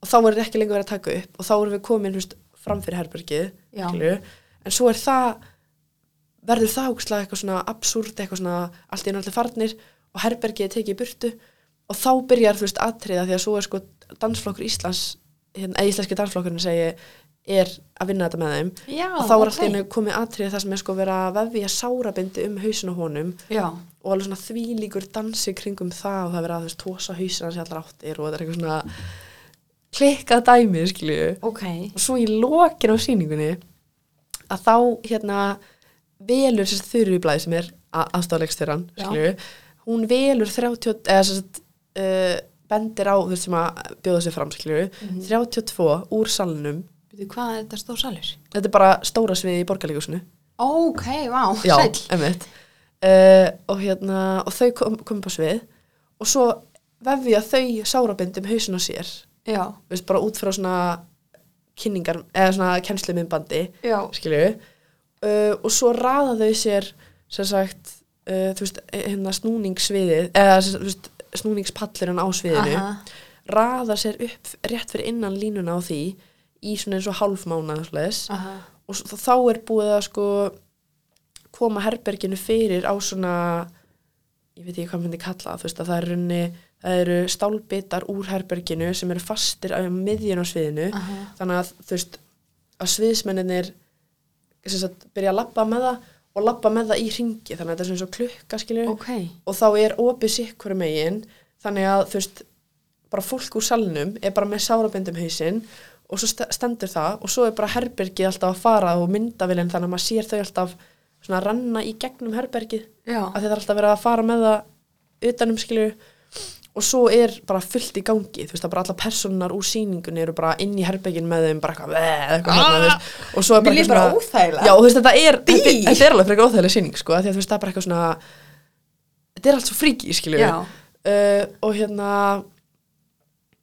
og þá er ekki lengur verið að taka upp og þá erum við komin húst, fram fyrir herbergið
Já.
skilurðu. en svo er það verður það ógstlega eitthvað svona absúrt eitthvað svona allt í einu allir farnir og herbergið er tekið í burtu og þá byrjar þú veist atriða því að svo er sko dansflokkur Íslands hérna, eða íslenski dansflokkurinn segi er að vinna þetta með þeim
já
og þá er
ok.
alltaf einu komið atrið það sem er sko verið að vefja sárabindi um hausinu honum
já,
og alveg svona þvílíkur dansi kringum það og það er verið að þú veist tósa hausinu hans í allar áttir og þetta er eitthvað svona klikkað dæmi skilju
ok,
og svo í lokin á sýningunni að þá hérna velur sérst þurru í blæði sem er aðstofleikstjóran
Já.
skilju hún velur 30 eða sérst uh, bendir á þú veist sem að bjóða sér fram skilju
Mhm.
32 úr salnum
veitu hvað er þetta stór salur?
þetta er bara stóra sviði í borgarleikusinu
ok, vá,
Já,
sæll
einmitt. uh, og, hérna, og þau kom, kom upp á svið og svo vefja þau sárabindum hausin á sér
já,
Þú veist, bara út frá svona kynningar, eða svona kennsluminnbandi
já,
skilju uh, og svo raða þau sér sem sagt, uh, þú veist, hérna snúningssviðið, eða sem sagt, þú veist, snúningspallurinn á sviðinu
aha,
raða sér upp rétt fyrir innan línuna á því í svona eins og hálfmána þess
aha,
og svo, þá er búið að sko koma herberginu fyrir á svona ég veit ekki hvað myndi kalla það, þú veist að það er runni það eru stálbitar úr herberginu sem eru fastir á miðjun á sviðinu
aha,
þannig að þú veist að sviðismenninir sem sagt, byrja að labba með það og labba með það í ringi þannig að þetta er svona eins og klukka skilju
ok,
og þá er opið sikkur megin þannig að þú veist bara fólk úr salnum er bara með sárabindum hausinn og svo st- stendur það og svo er bara herbergið alltaf að fara og myndavillin þannig að maður sér þau alltaf svona að ranna í gegnum herbergið
já,
að þetta er alltaf verið að fara með það utanum skilju og svo er bara fullt í gangi þú veist að bara alla personar úr síningunni eru bara inn í herbergin með þeim bara eitthvað, "Bleh", eða eitthvað hérna, þú veist. og svo er bara
Vil ég
eitthvað
bara óþægilega?
já, þú veist, þetta, er,
Dý.
þetta, þetta er alveg frekar óþægileg síning sko, af því að þú veist það er bara eitthvað svona þetta er allt svo fríki skilju
já,
uh, og hérna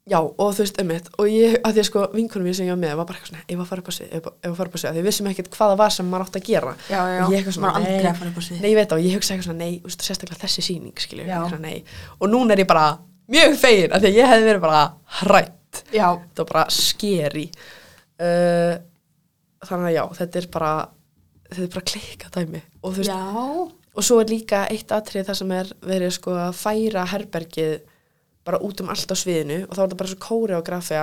já og þú veist ummitt og ég að því að sko vinkunum ég sem ég var með var bara eitthvað svona ef að fara upp á sig ef að ef að fara upp á sig að því við vissum ekkert hvaða var sem maður átt að gera
já, já,
og ég eitthvað svona
maður
nei,
aldrei að fara upp á svið.
nei ég veit það og ég hugsa eitthvað svona nei úst, sérstaklega þessi síning skilju
Já.
og núna er ég bara mjög fegin af því að ég hefði verið bara hrætt
já,
þetta var bara skeri uh, þannig að já þetta er bara þetta er bara klikka dæmi og þú veist
já,
og svo er líka eitt atrið það sem er verið sko að færa herbergið bara út um allt á sviðinu og þá er þetta bara svo kóri á grafja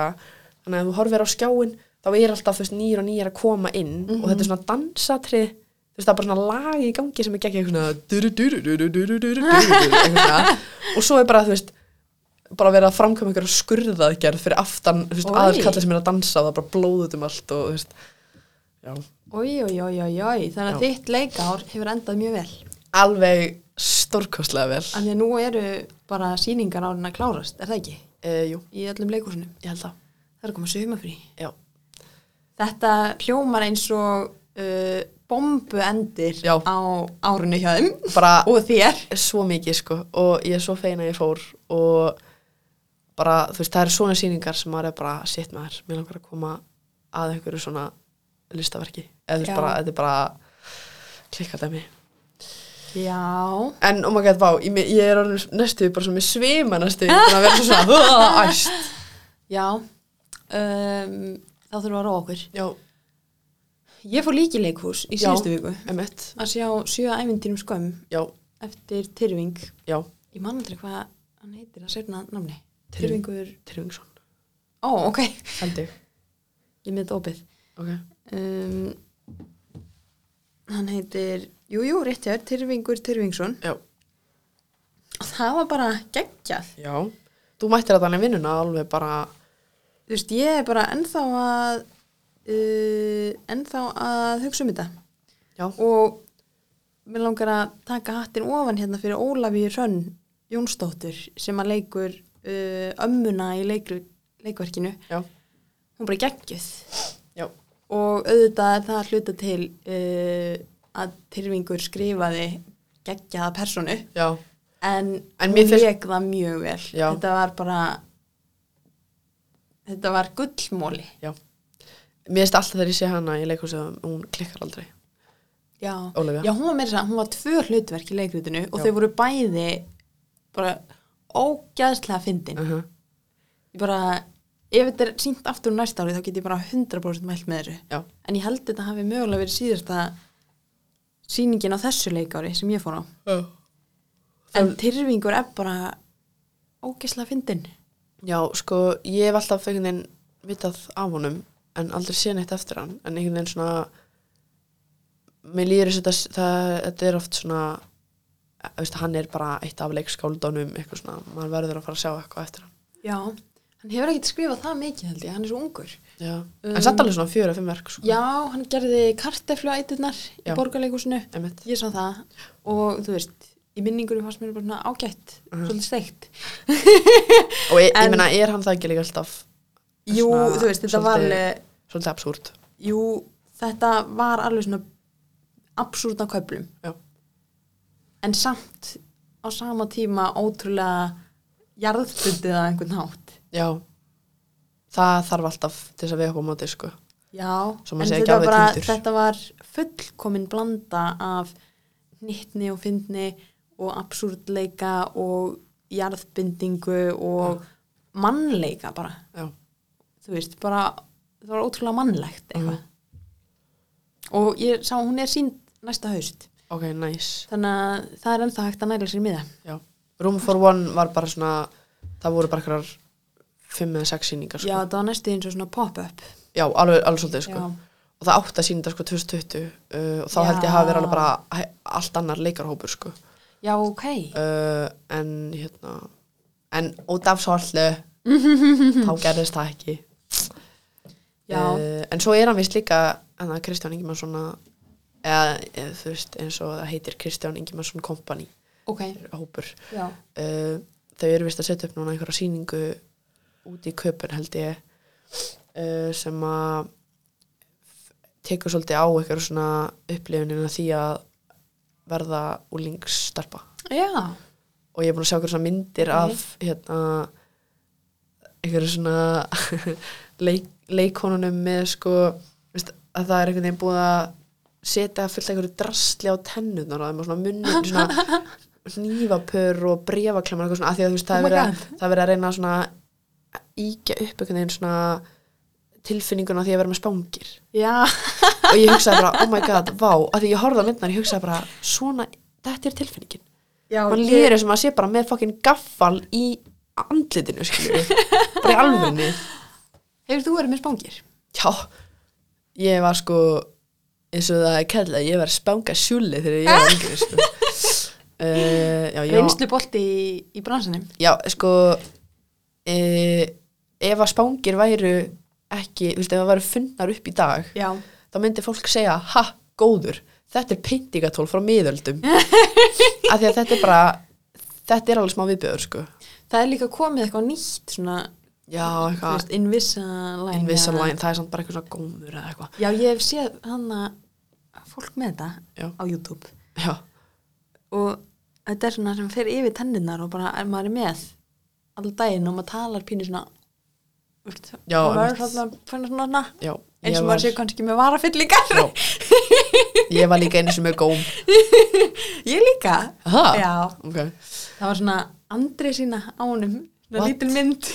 þannig að ef þú horfir á skjáin þá er alltaf þú veist nýr og nýr að koma inn og þetta er svona dansatrið þú veist það er bara svona lag í gangi sem er gegn eitthvað svona du-du-du-du-du-du-du-du-du-du-du, eitthvað svona. og svo er bara þú veist bara verið að framkvæma einhverja skurðaðgerð fyrir aftan þú veist,
Oj.
aðal kallið sem er að dansa og það er bara blóðut um allt og þú veist já,
oi, oi, oi, oi, oi, þannig að
Já.
þitt leikár hefur endað mjög vel.
alveg stórkostlega vel
Af því að nú eru bara síningar árin að klárast, er það ekki?
e, jú,
Í öllum leikúsunum.
ég held það
Það er að koma sumafrí.
Já,
Þetta hljómar eins og uh, bombu endir
Já.
á árinu hjá þeim
bara
og þér.
svo mikið sko og ég er svo fein að ég fór og bara, þú veist, það eru svona sýningar sem maður er bara sitt með þær, mér langar að koma að einhverju svona listaverki eða þú veist
Já.
bara, þetta er bara klikkað dæmi.
Já.
En oh my god, vá, ég, ég er orðin næstu bara svona með svima næstu, þannig að vera svo svona "Ugh, æst.
Já. Um, þá þurfum við að róa okkur.
Já,
Ég fór líki leikús í
Já.
síðustu viku.
emitt,
Að sjá sjö ævindýrum skömm
já,
eftir Tyrfing.
já,
Ég man aldrei hvað hann heitir að segna namni.
Tyrfing.
Tyrfingur.
Tryggvingsson,
Ó, ok.
held ég,
Ég er með þetta opið.
ok,
um, hann heitir Jújú, jú, rétt hér, Tyrfingur Tyrfingsson
já,
og það var bara geggjað
já, þú mættir að þannig vinnuna alveg bara,
þú veist, ég er bara ennþá að uh, ennþá að hugsa um þetta
já,
og mér langar að taka hattin ofan hérna fyrir Ólafíu Hrönn Jónsdóttur sem að leikur uh, ömmuna í leikru, leikverkinu
já,
hún er bara geggjuð
já,
og auðvitað er það að hluta til uh, að Tyrfingur skrifaði geggjaða personu
já.
en,
En mér
hún
finnst-
leik það mjög vel
Já.
þetta var bara þetta var gullmóli
Já. Mér finnst alltaf þegar ég sé hana í leikhúsi að hún klikkar aldrei.
já,
Ólafía.
já hún var meira þess að hún var tvö hlutverk í leikritinu og
Já.
þau voru bæði bara ógæðslega fyndin
Uh -huh.
ég bara, ef þetta er sínt aftur næsta ári þá get ég bara 100% mælt með þessu
Já.
en ég held þetta hafi mögulega verið síðasta sýningin á þessu leikári sem ég fór á en tyrfingur er bara ógæðslega fyndin
Já, sko, ég hef alltaf einhvern veginn vitað af honum en aldrei sé neitt eftir hann en einhvern veginn svona mér líður þess að þetta- það- þetta er oft svona þú veist, hann er bara eitt af leikskáldunum eitthvað svona, maður verður að fara að sjá eitthvað eftir hann
já, hann hefur ekkert skrifað það mikið held ég, hann er svo ungur
Já,
Um,
en satt alveg svona fjöra, fimm verk sko.
Já, hann gerði kartefluætirnar í
Já.
borgarleikúsinu,
Einmitt.
ég sá það og þú veist, í minningunum fannst mér bara svona ágætt, svolítið steikt
og ég, ég
En-
meina, er hann það ekki líka alltaf
Jú,
Svona
þú veist, þetta var
svolítið-
alveg
svolítið absúrt
Jú, þetta var alveg svona absúrna köflum
Já.
en samt á sama tíma ótrúlega jarðbundið að einhvern hátt
já það þarf alltaf til þess að við upp á móti sko
Já,
Svo
en
maður sé ekki
þetta,
alveg
bara,
týndur.
þetta var fullkomin blanda af nýttni og fyndni og absúrdleika og jarðbindingu og mannleika bara,
já,
þú veist, bara það var ótrúlega
Mhm.
mannlegt eitthvað og ég sá hún er sínd næsta haust,
ok, næs nice.
þannig að það er ennþá hægt að næla sér miða.
Já, Room for One var bara svona, það voru bara einhverjar fimm eða sex síningar
Já,
sko.
það var næstu eins og svona pop-up
Já, alveg, alveg svolítið sko.
Já.
Og það átt að sína þetta sko 2020 uh, og þá held ég
Já.
að hafa verið alveg bara hæ- allt annar leikarhópur sko.
Já, ok,
Uh, en hérna, en út af svolítið, þá gerðist það ekki.
já,
Uh, en svo er hann vist líka, en það Kristján Ingimarsson eða, eða þú veist eins og það heitir Kristján Ingimarsson Company
ok,
eh. hópur.
já,
uh, þau eru vist að setja upp núna einhverja sýningu út í köpun held ég uh, sem að tekur svolítið á einhverju svona upplifunina því að verða úlingsstarpa
já,
og ég er búin að sjá einhverja svona myndir
Ok.
af hérna einhverju svona (laughs) leik, leikonunum með sko veist, að það er einhvern veginn búið að setja fullt af einhverju drastli á tennunar og það er svona
(laughs)
munni svona hnífapör og brefaklemar eitthvað svona að því að þú veist
Oh my
það er verið að- það er verið að reyna svona að íkja upp einhvern veginn svona tilfinninguna af því að vera með spangir
já,
og ég hugsaði bara, oh my god, vá að því ég horfði á myndnar, ég hugsaði bara svona, þetta er tilfinningin
já,
mann
ég-
líður eins og maður sé bara með fokkin gaffal í andlitinu skilur (laughs) bara í alvegni
hefur þú verið með spangir?
já, ég var sko eins og það er kallað, ég var spanga sjúli þegar ég (laughs) var yngri sko. uh, já, já,
reynslu bolti í, í bransanum
já, sko uh, ef að spangir væru ekki, þú veist, ef það væru funnar upp í dag
já,
þá myndi fólk segja, ha, góður þetta er pyntingatól frá (laughs) miðöldum af því að þetta er bara þetta er alveg smá viðbjöður sko
það er líka komið eitthvað nýtt svona,
já,
þú veist, Invisalign
Invisalign, það er samt bara eitthvað svona gómur eða eitthvað.
já, ég hef séð hann að fólk með þetta
Já.
á YouTube
Já,
og þetta er svona sem fer yfir tenninar og bara er maður er með allan daginn og maður talar pínu svona þú veist,
Já,
maður er
einmitt.
svona, svona, svona
já.
eins
ég
og
var-
maður séu kannski með varafyllingar
Já. Ég var líka einu sem með góm.
(laughs) ég líka
Aha.
já,
Ok.
það var svona andri sína ánum svona
What?
lítil mynd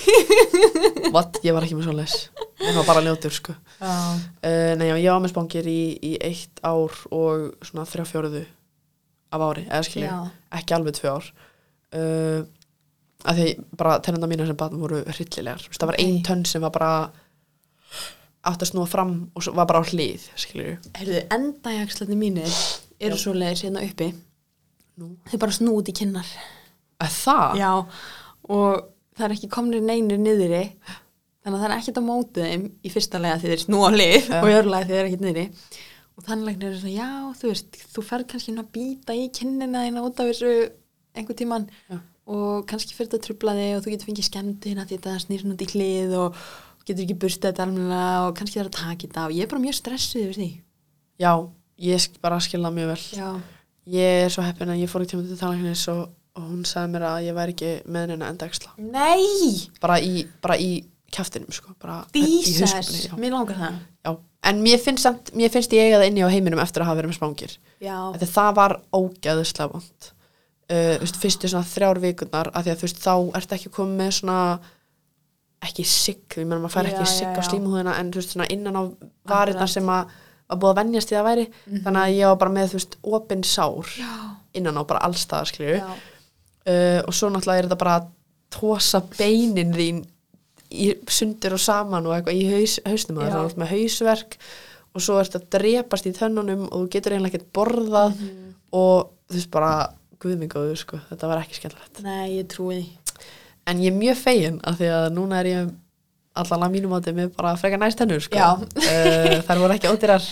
What? Ég var ekki með svona les. Ég var bara ljótur, sko.
já
Uh, nei, já, ég var með spangir í, í eitt ár og svona þrjá fjóruðu af ári, eða skilju.
Já.
Ekki alveg tvö ár. Uh, að því bara tennenda mína sem batn voru hryllilegar. Þú veist, Það var ein
Ok.
tönn sem var bara átt að snúa fram og svo var bara á hlið, skilju.
Herðu, endajagslandi mínir eru
Já.
svo leiðis hérna uppi.
Nú.
Þau bara snúa út í kinnar.
Að það?
Já, og það er ekki komnir neinir niðri. Þannig að það er ekkert á móti þeim í fyrsta lega því þeir snúa á lið
Já.
og í öðru lega því þeir eru ekkert niðri. Og þannig læknir er svona, já, þú veist, þú ferð kannski hérna að býta í kinnina þína út af þessu einhvern tíman
Já.
og kannski fyrir þetta að trubla þig og þú getur fengið skemmti hérna því þetta snýr svona út í hlið og getur ekki burstað þetta almennilega og kannski það er að taka þetta og ég er bara mjög stressuð yfir því.
Já, ég sk- bara skilða mjög vel.
Já.
Ég er svo heppin að ég fór í tíma til talalæknis og, og hún sagði mér að ég væri ekki með neina endaksla.
Nei,
Bara í, bara í kjaftinum, sko. Bara í
dísas,
hauskúpunni, já,
mér langar það.
já. En mér finnst, samt, mér finnst ég eiga það inni á heiminum eftir að hafa verið með spangir.
Já,
Þegar það var ógæðislega vond. Uh, veist, fyrstu svona þrjár vikunar af því að þú veist, þá ertu ekki komið með svona ekki sigg, ég meina maður fær
Já,
ekki
já,
sigg á
já.
slímuhúðina en þú veist svona innan á varirna
Akkurat. Mhm.
sem að var búið að venjast í það væri þannig að ég var bara með þú veist opin sár
já,
innan á bara allstaðar skilju
já,
uh, og svo náttúrulega er þetta bara að tósa beinin þín í sundur og saman og eitthvað í haus, hausnum að
Já.
það er allt með hausverk og svo ertu að drepast í tönnunum og þú getur eiginlega ekkert borðað og þú veist bara guðmingóðu sko, þetta var ekki skemmtilegt
nei, ég trúi því.
en ég er mjög fegin af því að núna er ég allan að mínum átti með bara freka næst tennur sko.
Já.
uh, þar voru ekki ódýrar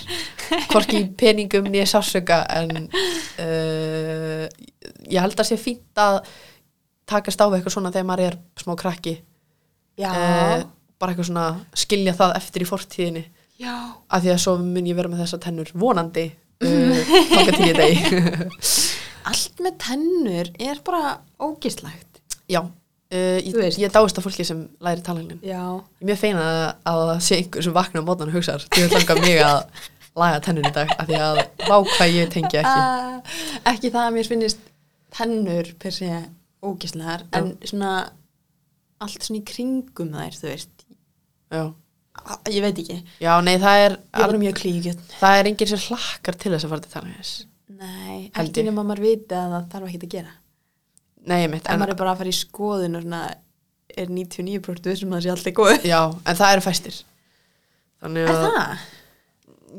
hvorki í peningum nýja sásöka en uh, ég held að sé fínt að takast á við eitthvað svona þegar maður er smá krakki
Já,
Eh, bara eitthvað svona skilja það eftir í fortíðinni
já,
eh,
(laughs)
af því að svo mun ég vera með þessa tennur vonandi uh, þangað til ég degi
allt með tennur er bara ógislagt
Já, uh, ég,
Þú veist.
ég dáist að fólki sem læri talheilin.
já,
Ég er mjög feina að, að það sé einhver sem vakna á mótnan og hugsar. Þú vil langa mig að laga tennun í dag af því að vá hvað ég tengi ekki.
ekki. Eh, ekki það að mér finnist tennur per se ógislegar en svona allt svona í kringum þær, þú veist
Já,
Á- ég veit ekki, ég
Já nei, það er,
var mjög klíkjötn
það er enginn sem hlakkar til þess að fara til talheilins.
nei,
Held
ekki
ég.
nema maður viti að það þarf ekki að gera
Nei, mitt.
en
En,
maður er bara að fara í skoðun og svona er 99% vissum um að það sé alltaf góð
já, en það eru fæstir. Þannig
er
að,
það?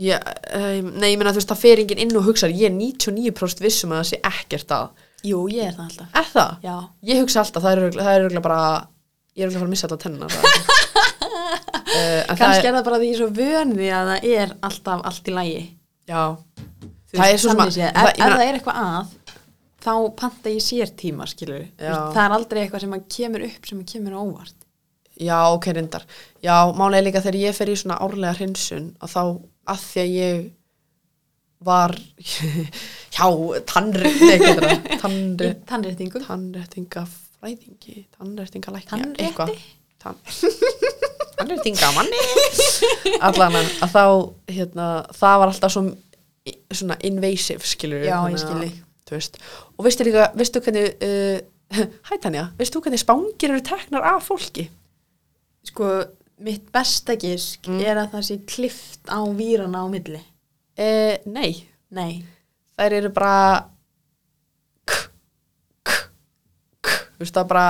já, um, nei, ég meina þú veist, það fer enginn inn og hugsar, ég er 99% vissum um að það sé ekkert að.
jú, ég er það alltaf
Er það?
já,
Ég hugsa alltaf, það er örugglega- það er örugglega bara, ég er örugglega að fara að missa alltaf tennar. uh,
(laughs)
Eh,
kannski er það bara því ég er svo vönði að það er alltaf allt í lagi
Já,
Þú
Það
veist,
er svo sem
þannig
að-
séð,
það-
ef,
ég
ef
meina-
það er eitthvað að þá panta ég sér tíma skilur
Já.
það er aldrei eitthvað sem að kemur upp sem að kemur á óvart
já, ok, reyndar. Já, málega er líka þegar ég fer í svona árlega hreinsun og þá að því að ég var (laughs) hjá tannréttinga
í
tannrétt,
tannréttingum
tannréttinga fræðingi tannréttinga lækni,
Tannrétti?
Tann, (laughs) tannréttinga manni allan að að þá hérna, það var alltaf svo, svona invasive skilur
Já, ég skil þig.
þú veist, og veistu líka, veistu hvernig uh, (laughs) hæ Tanja, veistu hvernig spángir eru teknar af fólki
sko, mitt besta gisk
Mm.
er að það sé klift á výrana á milli
Uh, nei,
nei,
þær eru bara k, k, k þú veist það er bara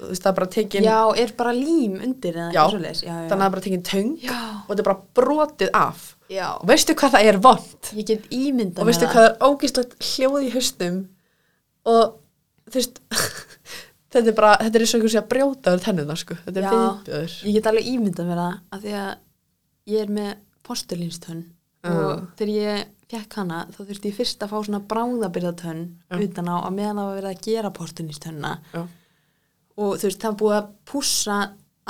þú veist það er bara tekin
já, er bara lím undir eða
Já.
eitthvað svoleiðis já, já.
þannig að það er bara tekin töng
Já.
og þetta er bara brotið af
já,
og veistu hvað það er vond
ég get ímyndað
og veistu
mér
hvað það er ógíslegt hljóð í haustum og þú veist (laughs) þetta er bara, þetta er eins og einhvers að brjóta úr tennuna sko, þetta er
Já.
viðbjöður
Ég get alveg ímyndað mér það af því að ég er með postulínstönn og þegar ég fekk hana þá þurfti ég fyrst að fá svona bráðabyrðatönn utan á að meðan það var verið að gera postulínstönna
Já.
og þú veist það er búið að pússa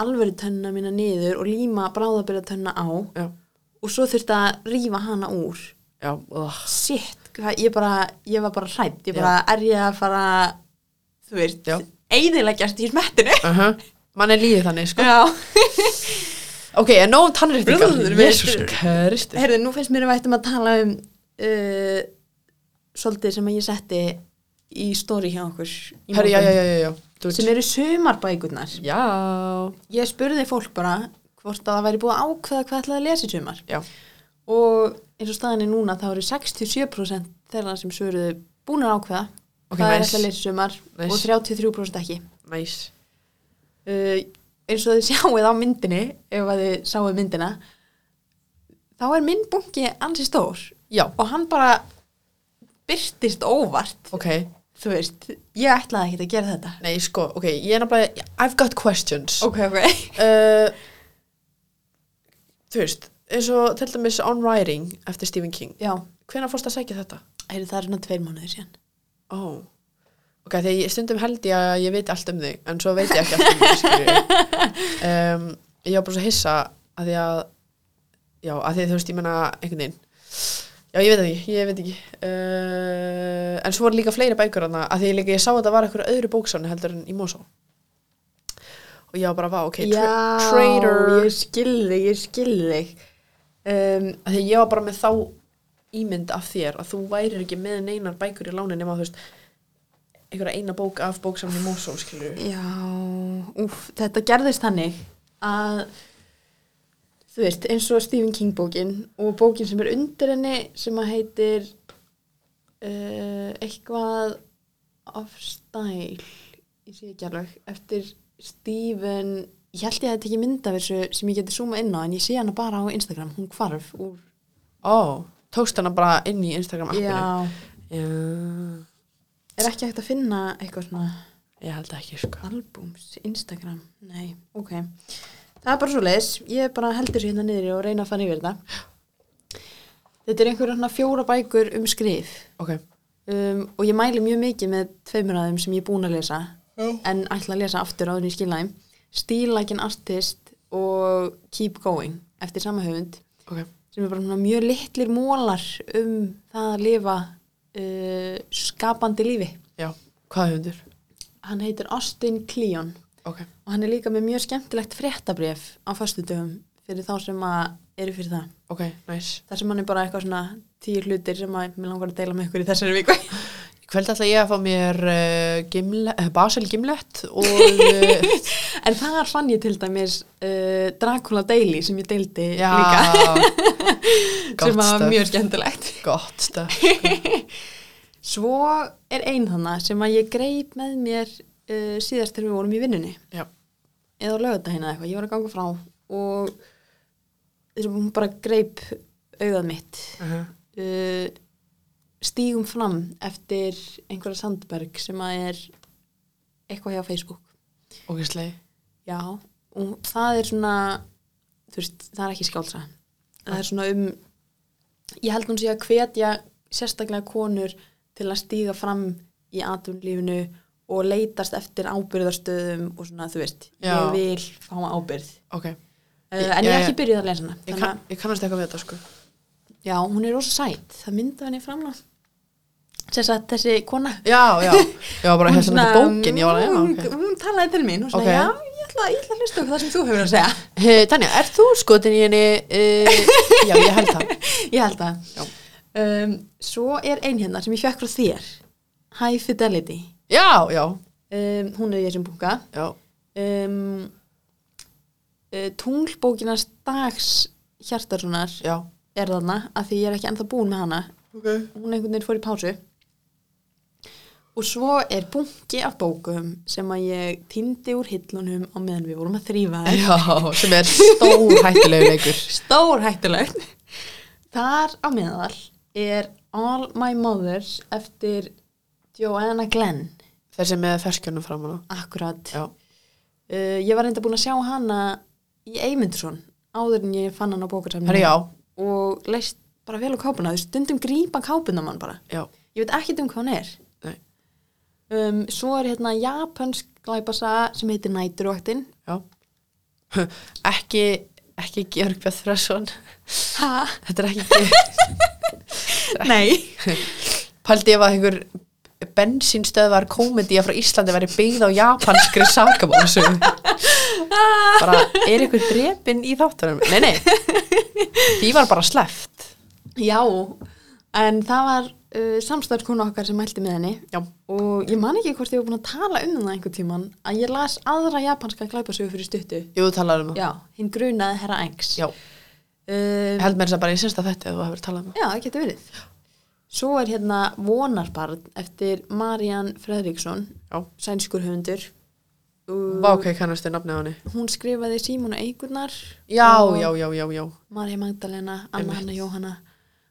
alvöru tönna mína niður og líma bráðabyrðatönna á
já,
og svo þurfti að rífa hana úr
já, ugh.
Sitt, ég, bara, ég var bara hrætt, ég bara er ég að fara þú veist,
Já.
eiðilegjast í smettinu
uh -huh. mann er líðið þannig sko
Já
ok, en nóg um tannréttingar,
Brúður,
jésús
veistu-
kristur
Herðu, nú finnst mér að vættum að tala um uh, svolítið sem að ég setti í stóri hjá okkur í
Herri, já,
morgun,
já, já, já, já. Þú
sem eru sumarbækurnar.
Já,
Ég spurði fólk bara hvort að það væri búið að ákveða hvað ætlaði að lesa í sumar
já,
og eins og staðinni núna þá eru 67% þeirra sem svöruðu búin að ákveða
Ok,
hvað er
nice.
ætlaði að lesa í sumar
Nice.
og 33% ekki.
næs.
uh, eins og þið sjáuð á myndinni ef að þið sjáuð myndina þá er minn bunki ansi stór
Já.
og hann bara byrtist óvart
Ok,
þú veist, ég ætlaði ekki að gera þetta
nei, sko, ok, ég er náttúrulega, I've got questions.
ok, ok
Uh, þú veist, eins og til dæmis On Writing eftir Stephen King,
já,
hvenær fórst að sækja þetta?
heyrðu, það er svona tveir mánuðir síðan
Ó, ok, þegar ég stundum held ég að ég veit allt um þig, en svo veit ég ekki allt um þig, skilju. Um, ég var bara svo hissa að því að, já, að því þú veist, ég menna einhvern veginn. Já, ég veit það ekki, ég veit ekki. Uh, en svo voru líka fleiri bækur hana, að því ég líka, ég sá að það var eitthvað öðru bóksáni heldur en í Mosó. Og ég var bara, vá, ok, tra traitor.
ég skilði, ég skilði um,
Að Ehm, því ég var bara með þá ímynd af þér, að þú værir ekki með neinar bækur í láni nema, þú veist, einhverja eina bók af bóksáni í Mosó, skilju.
já, úf, þetta gerðist þannig að þú veist, eins og Stephen King bókin og bókin sem er undir henni sem að heitir uh,
Ehm,
eitthvað of style ég sé ekki alveg, eftir Stephen ég held ég að þetta ekki mynda þessu sem ég geti zoomað inn á en ég sé hana bara á Instagram, hún hvarf úr
Ó, tókst hana bara inn í Instagram appinu?
Já,
Já.
er ekki hægt að finna eitthvað svona
Ég held ekki, sko.
albums, Instagram, nei, ok. Það er bara svo leis, ég bara heldur sér hérna niður og reyna að fara yfir þetta. Þetta er einhverja svona fjóra bækur um skrif
Ok.
um, og ég mæli mjög mikið með tveimur aðeim sem ég er búin að lesa en ætla að lesa aftur áður en ég skilnaði. Steal Like an Artist og Keep Going eftir sama höfund
Ok.
sem er bara svona mjög litlir mólar um það að lifa uh, skapandi lífi
Já, hvað höfundur?
hann heitir Austin Kleon
Ok,
og hann er líka með mjög skemmtilegt fréttabref á föstudöfum fyrir þá sem að eru fyrir það
ok, næs.
þar sem hann er bara eitthvað svona tíu hlutir sem að mér langar að deila með ykkur í þessari viku
Í kvöld ætla ég að fá mér uh, gimle, uh, Basel Gimlet og uh,
en þar fann ég til dæmis uh, Dracula Daily sem ég deildi (laughs)
já,
líka
gott
sem var
stöf,
mjög skemmtilegt
gott stöf.
svo er ein hana sem að ég greip með mér uh, síðast þegar við vorum í vinnunni
Já,
eða á lögadagina eða eitthvað, ég var að ganga frá og þessum hún bara greip auðað mitt
uh -huh.
uh, stígum fram eftir einhverja Sandberg sem að er eitthvað hjá Facebook
ok, slei.
Já, og það er svona þú veist, það er ekki skálsa það er svona um ég held hún sé að hvetja sérstaklega konur til að stíga fram í atvinnlífinu og leitast eftir ábyrðarstöðum og svona, þú veist,
Já.
ég vil fá ábyrð
Ok,
uh,
Ég-
en ég
já,
er ekki
já.
byrjuð að lesa hana
ég,
þannig
kann,
að,
ég kannast eitthvað við þetta sko.
já, hún er rosa sætt það mynda henni framlega sem sagt þessi kona
Já, (laughs) já, ég var bara að hefða
svona,
þetta bókin, hérna ég var að, já,
hún,
ok.
hún talaði til mín og svona,
Ok.
já, ég ætla, ég ætla að hlusta okkur það sem þú hefur að segja
Hey, Tanja, er þú skotin í henni? Uh, (laughs) já, ég held það.
Ég held það.
Já.
Um, svo er ein hérna sem ég fekk frá þér. High Fidelity.
Já, já,
Um, hún er í þessum búka.
já,
Um, uh, tunglbókinars dags hjartarsonar
já.
er þarna að því ég er ekki ennþá búin með hana.
Ok.
Hún einhvern veginn fór í pásu. Og svo er bunki af bókum sem að ég týndi úr hillunum á meðan við vorum að þrýfa þær.
Já, sem er stór hættulegu leikur.
Stór hættulegt. Þar á meðal er All My Mothers eftir Joanna Glenn.
Þessi með ferskjörnum framan á.
Akkurat.
Já,
Uh, ég var enda búin að sjá hana í Eymundsson áður en ég fann hana á bókarsamni.
herri, já,
Og leist bara vel á kápuna. Þú stundum grípa kápuna mann bara.
já,
Ég veit ekkert um hvað hann er.
nei,
Um, svo er hérna japansk glæpasa sem heitir Næturvaktin.
já. (laughs) Ekki, ekki Georg Björn Þræsson.
Ha?
(laughs) Þetta er ekki,
Nei.
paldi ef að einhver bensínstöðvar komedía frá Íslandi væri byggð á japanskri sakamálsum. Bara, er einhver drepin í þáttunum? Nei, nei, því var bara sleft.
Já, en það var uh, samstarfskona okkar sem mælti með henni.
Já,
og ég man ekki hvort ég var búin að tala um það einhver tíman að ég las aðra japanska glæpasögu fyrir stuttu
jú, þú talaði um það.
já, hinn grunaði herra engs
Já, ég
um,
held mér þess að bara í sérsta þetta að þú hefur talað um það.
já það getur verið svo er hérna Vonarbarn eftir Marian Fredriksson
Já.
sænskur höfundur
Vá, ok, kannastu nafnið á henni.
hún skrifaði Símona Eigunar
Já,
og
já, já, já, já.
Marja Magdalena, Anna Hanna Jóhanna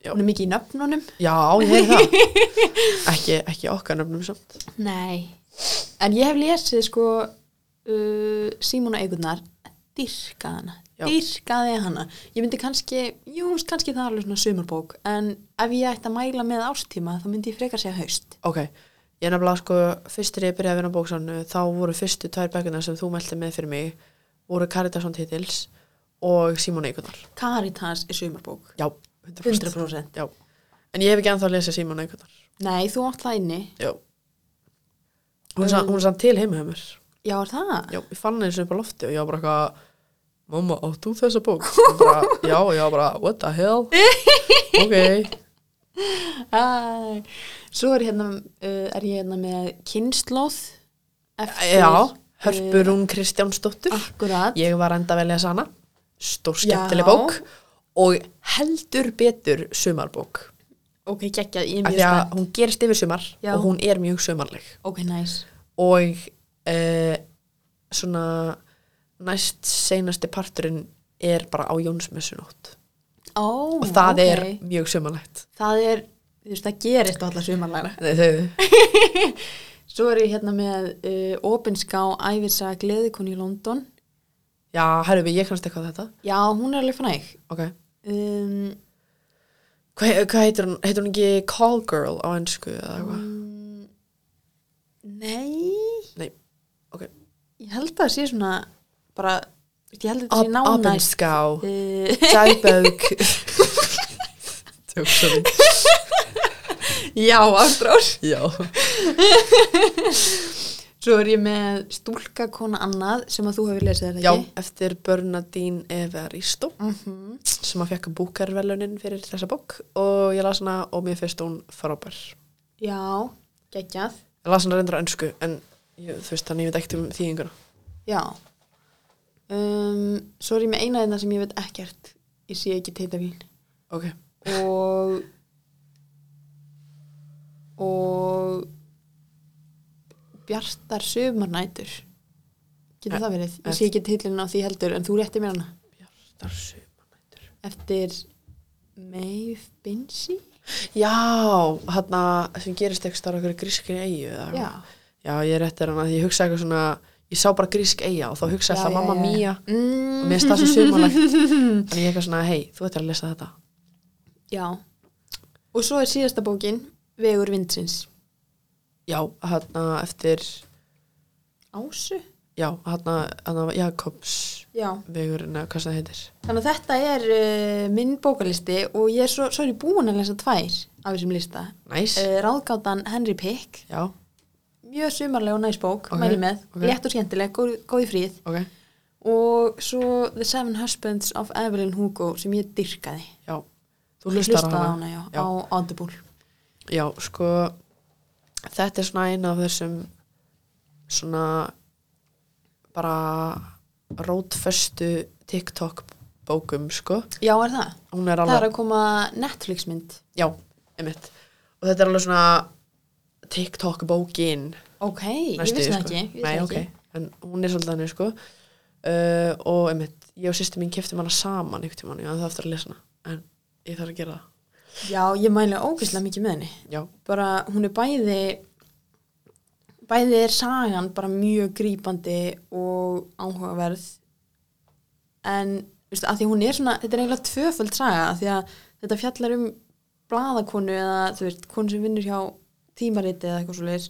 Já.
hún er mikið í nöfnunum
Já, ég hefði það. (laughs) ekki, ekki okkar nöfnum samt.
nei, en ég hef lesið sko uh, Símona Eigunar dyrkað hana,
Já.
dyrkaði hana ég myndi kannski, jú, kannski það er alveg svona sumarbók, en ef ég ætti að mæla með ástíma, þá myndi ég frekar segja haust
Ok, ég nefnilega sko, fyrst þegar ég byrjaði að vinna á bóksánu, þá voru fyrstu tvær bækunar sem þú meldi með fyrir mig, voru Caritasson titils og Simon Eikunar.
Caritas er sumarbók,
Já, 100%.
100%
Já, en ég hef ekki ennþá að lesa Simon Eikunar.
nei, þú átt það inni
Já. Hún sann um, san til heima hjá mér.
já, er það?
Já, ég fann henni sem upp á lofti og ég var bara eitthvað, mamma, átt þú þessa bók? Hún
(laughs)
bara, já, og ég var bara, what the hell? ok,
Æ. svo er hérna uh, er ég hérna með kynnslóð eftir
já, Hörpurún Kristjánsdóttur.
akkurat,
Ég var enda vel að lesa hana Stór
Ah. Já.
skemmtileg bók Og heldur betur sumarbók
ok, geggjað ég er
Af
mjög
Því
spennt,
að hún gerist yfir sumar
Já.
Og hún er mjög sumarleg
ok, nice
Og uh, svona næst seinasti parturinn er bara á Jónsmessunótt
Ó,
og það
ok.
er mjög sumarlegt
það er, þú veist, það gerist á alla sumarlæra.
Nei, þau-
Svo er ég hérna með uh, Opinská æfirsa Gleðikon í London.
Já, herrubi, ég kannast eitthvað þetta
Já, hún er alveg fræg.
okay.
Um,
Hvað hva heitir hún? Heitir hún ekki Call Girl á ennsku eða eitthvað?
mm, nei,
Nei, ok
ég held að það sé svona bara, þú veist, ég held að þetta sé
Ob-
nánæst.
Opinská
(laughs) Uh, (laughs)
dagbók Tjók, sorry
Já, Ástrós.
Já.
Svo er ég með stúlka kona annað sem að þú hefur lesið þetta
Já,
ekki. Mhm.
eftir Bernadine Evaristo sem að fekk búkarvelunin fyrir þessa bók og ég las hana og mér finnst hún frábær.
Já, geggjað.
Ég las hana reyndra önsku en ég, þú veist þannig ég veit ekkert um þýðinguna.
Já. Um, svo er ég með eina þeirna sem ég veit ekkert. Ég sé ekki teita mín.
Ok.
Og og Bjartar sömarnætur. Getur það verið? Ég sé ekki titlinn á því heldur en þú rétti mér hana.
Bjartar sumanætur.
Eftir Maeve Binsey?
Já, hann sem gerist ekki starf okkur grískin eigu eða eitthvað.
Já.
Já, ég rétti þér hana því ég hugsa eitthvað svona, ég sá bara grísk eiga og þá hugsa
Já,
alltaf
já,
mamma
já, já.
mía
Mm.
og mér finnst það svo sumanægt. Þannig ég eitthvað svona, hei, þú ættir að lesa þetta.
(laughs) Já. Og svo er síðasta bókin Vegur vindsins.
Já, hann eftir,
Ásu?
já, hann Jakobs
Já.
vegurinn eða hvað sem það heitir.
Þannig að þetta er uh, minn bókalisti og ég er svo, svo er ég búin að lesa tvær af þessum lista.
Næs.
Uh, ráðgátan Henry Pick,
Já,
mjög sumarlega og næs bók,
Ok,
mæli með,
ok.
létt og skemmtileg, góð, góð í fríð.
ok.
Og svo The Seven Husbands of Evelyn Hugo sem ég dyrkaði.
Já, þú hlustar á
Hlustaði á hana, já,
já.
á Audible.
Já, sko, þetta er svona eina af þessum svona bara rótföstu TikTok bókum, sko.
Já, er það?
Hún er
Það er
alveg,
að koma Netflix mynd.
já, einmitt. Og þetta er alveg svona TikTok bókin.
Ok, ég
næstu
vissi
því,
það
sko.
ekki. ég vissi
Nei,
það
ok,
ekki.
en hún er svolítið hannig, sko. Uh, og einmitt, ég og sýstum mín keftum hana saman ykkur tímann, ég hafði það eftir að lesa hana. En ég þarf að gera það.
Já, ég mæli ógeðslega mikið með henni.
Já,
Bara, hún er bæði, bæði er sagan bara mjög grípandi og áhugaverð. En, veistu, að því hún er svona, þetta er eiginlega tvöföld saga, af því að þetta fjallar um blaðakonu eða, þú veist, konu sem vinnur hjá tímariti eða eitthvað svo leiðis,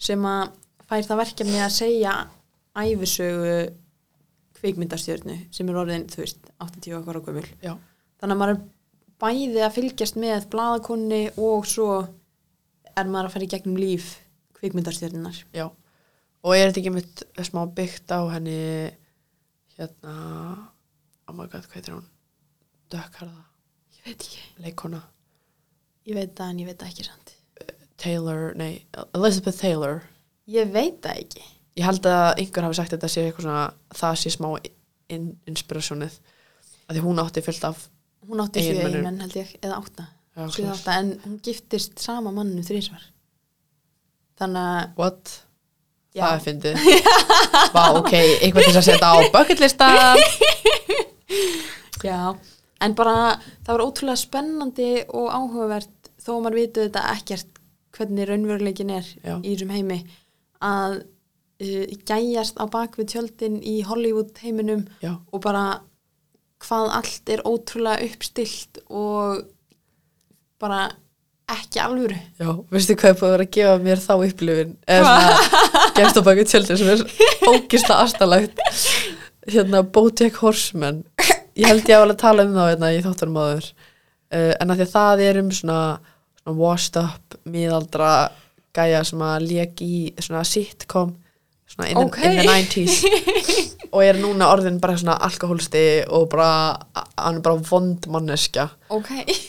sem að fær það verkefni að segja æfisögu kvikmyndastjörnu sem er orðin, þú veist, 80 og eitthvað gömul
já,
þannig að maður er bæði að fylgjast með blaðakonni og svo er maður að fara í gegnum líf kvikmyndarstjörninar
já. Og er þetta ekki mitt smá byggt á henni, hérna, oh my god, hvað heitir hún? Dökkarða,
ég veit ekki,
leikona,
ég veit það en ég veit það ekki sant
Taylor, nei, Elizabeth Taylor.
ég veit það ekki
Ég held að einhver hafi sagt að þetta sé eitthvað svona, það sé smá in, inspirasjónið. Af Því hún átti fullt af,
hún átti sjö
Eiginmönnum.
einmenn held ég, eða átta, sjö
Já,
eða
svoleiðis.
átta en hún giftist sama mannu þrísvar þannig að
what?
já,
Það er fyndið. Vá, ok, eitthvað til þess að setja á bucketlista.
já. en bara það var ótrúlega spennandi og áhugavert þó að maður vitu þetta ekkert hvernig raunveruleikin er
Já.
í þessum heimi að uh, gæjast á bakvið tjöldin í Hollywood heiminum
Já,
og bara hvað allt er ótrúlega uppstilt og bara ekki alvöru
já, veistu hvað er búið að vera að gefa mér þá upplifin? Eða svona, gefst á baki tjöldin sem er ógist að astalagt. Hérna, Bojack Horseman. Ég held ég að alveg að tala um þá hérna í þáttunum áður. Uh, en að því að það er um svona, svona washed up, miðaldra gæja sem að lék í svona sitcom, svona in,
Ok.
the, in the 90s. og er núna orðin bara svona alkohólsti og bara, hann er bara vondmanneskja
ok,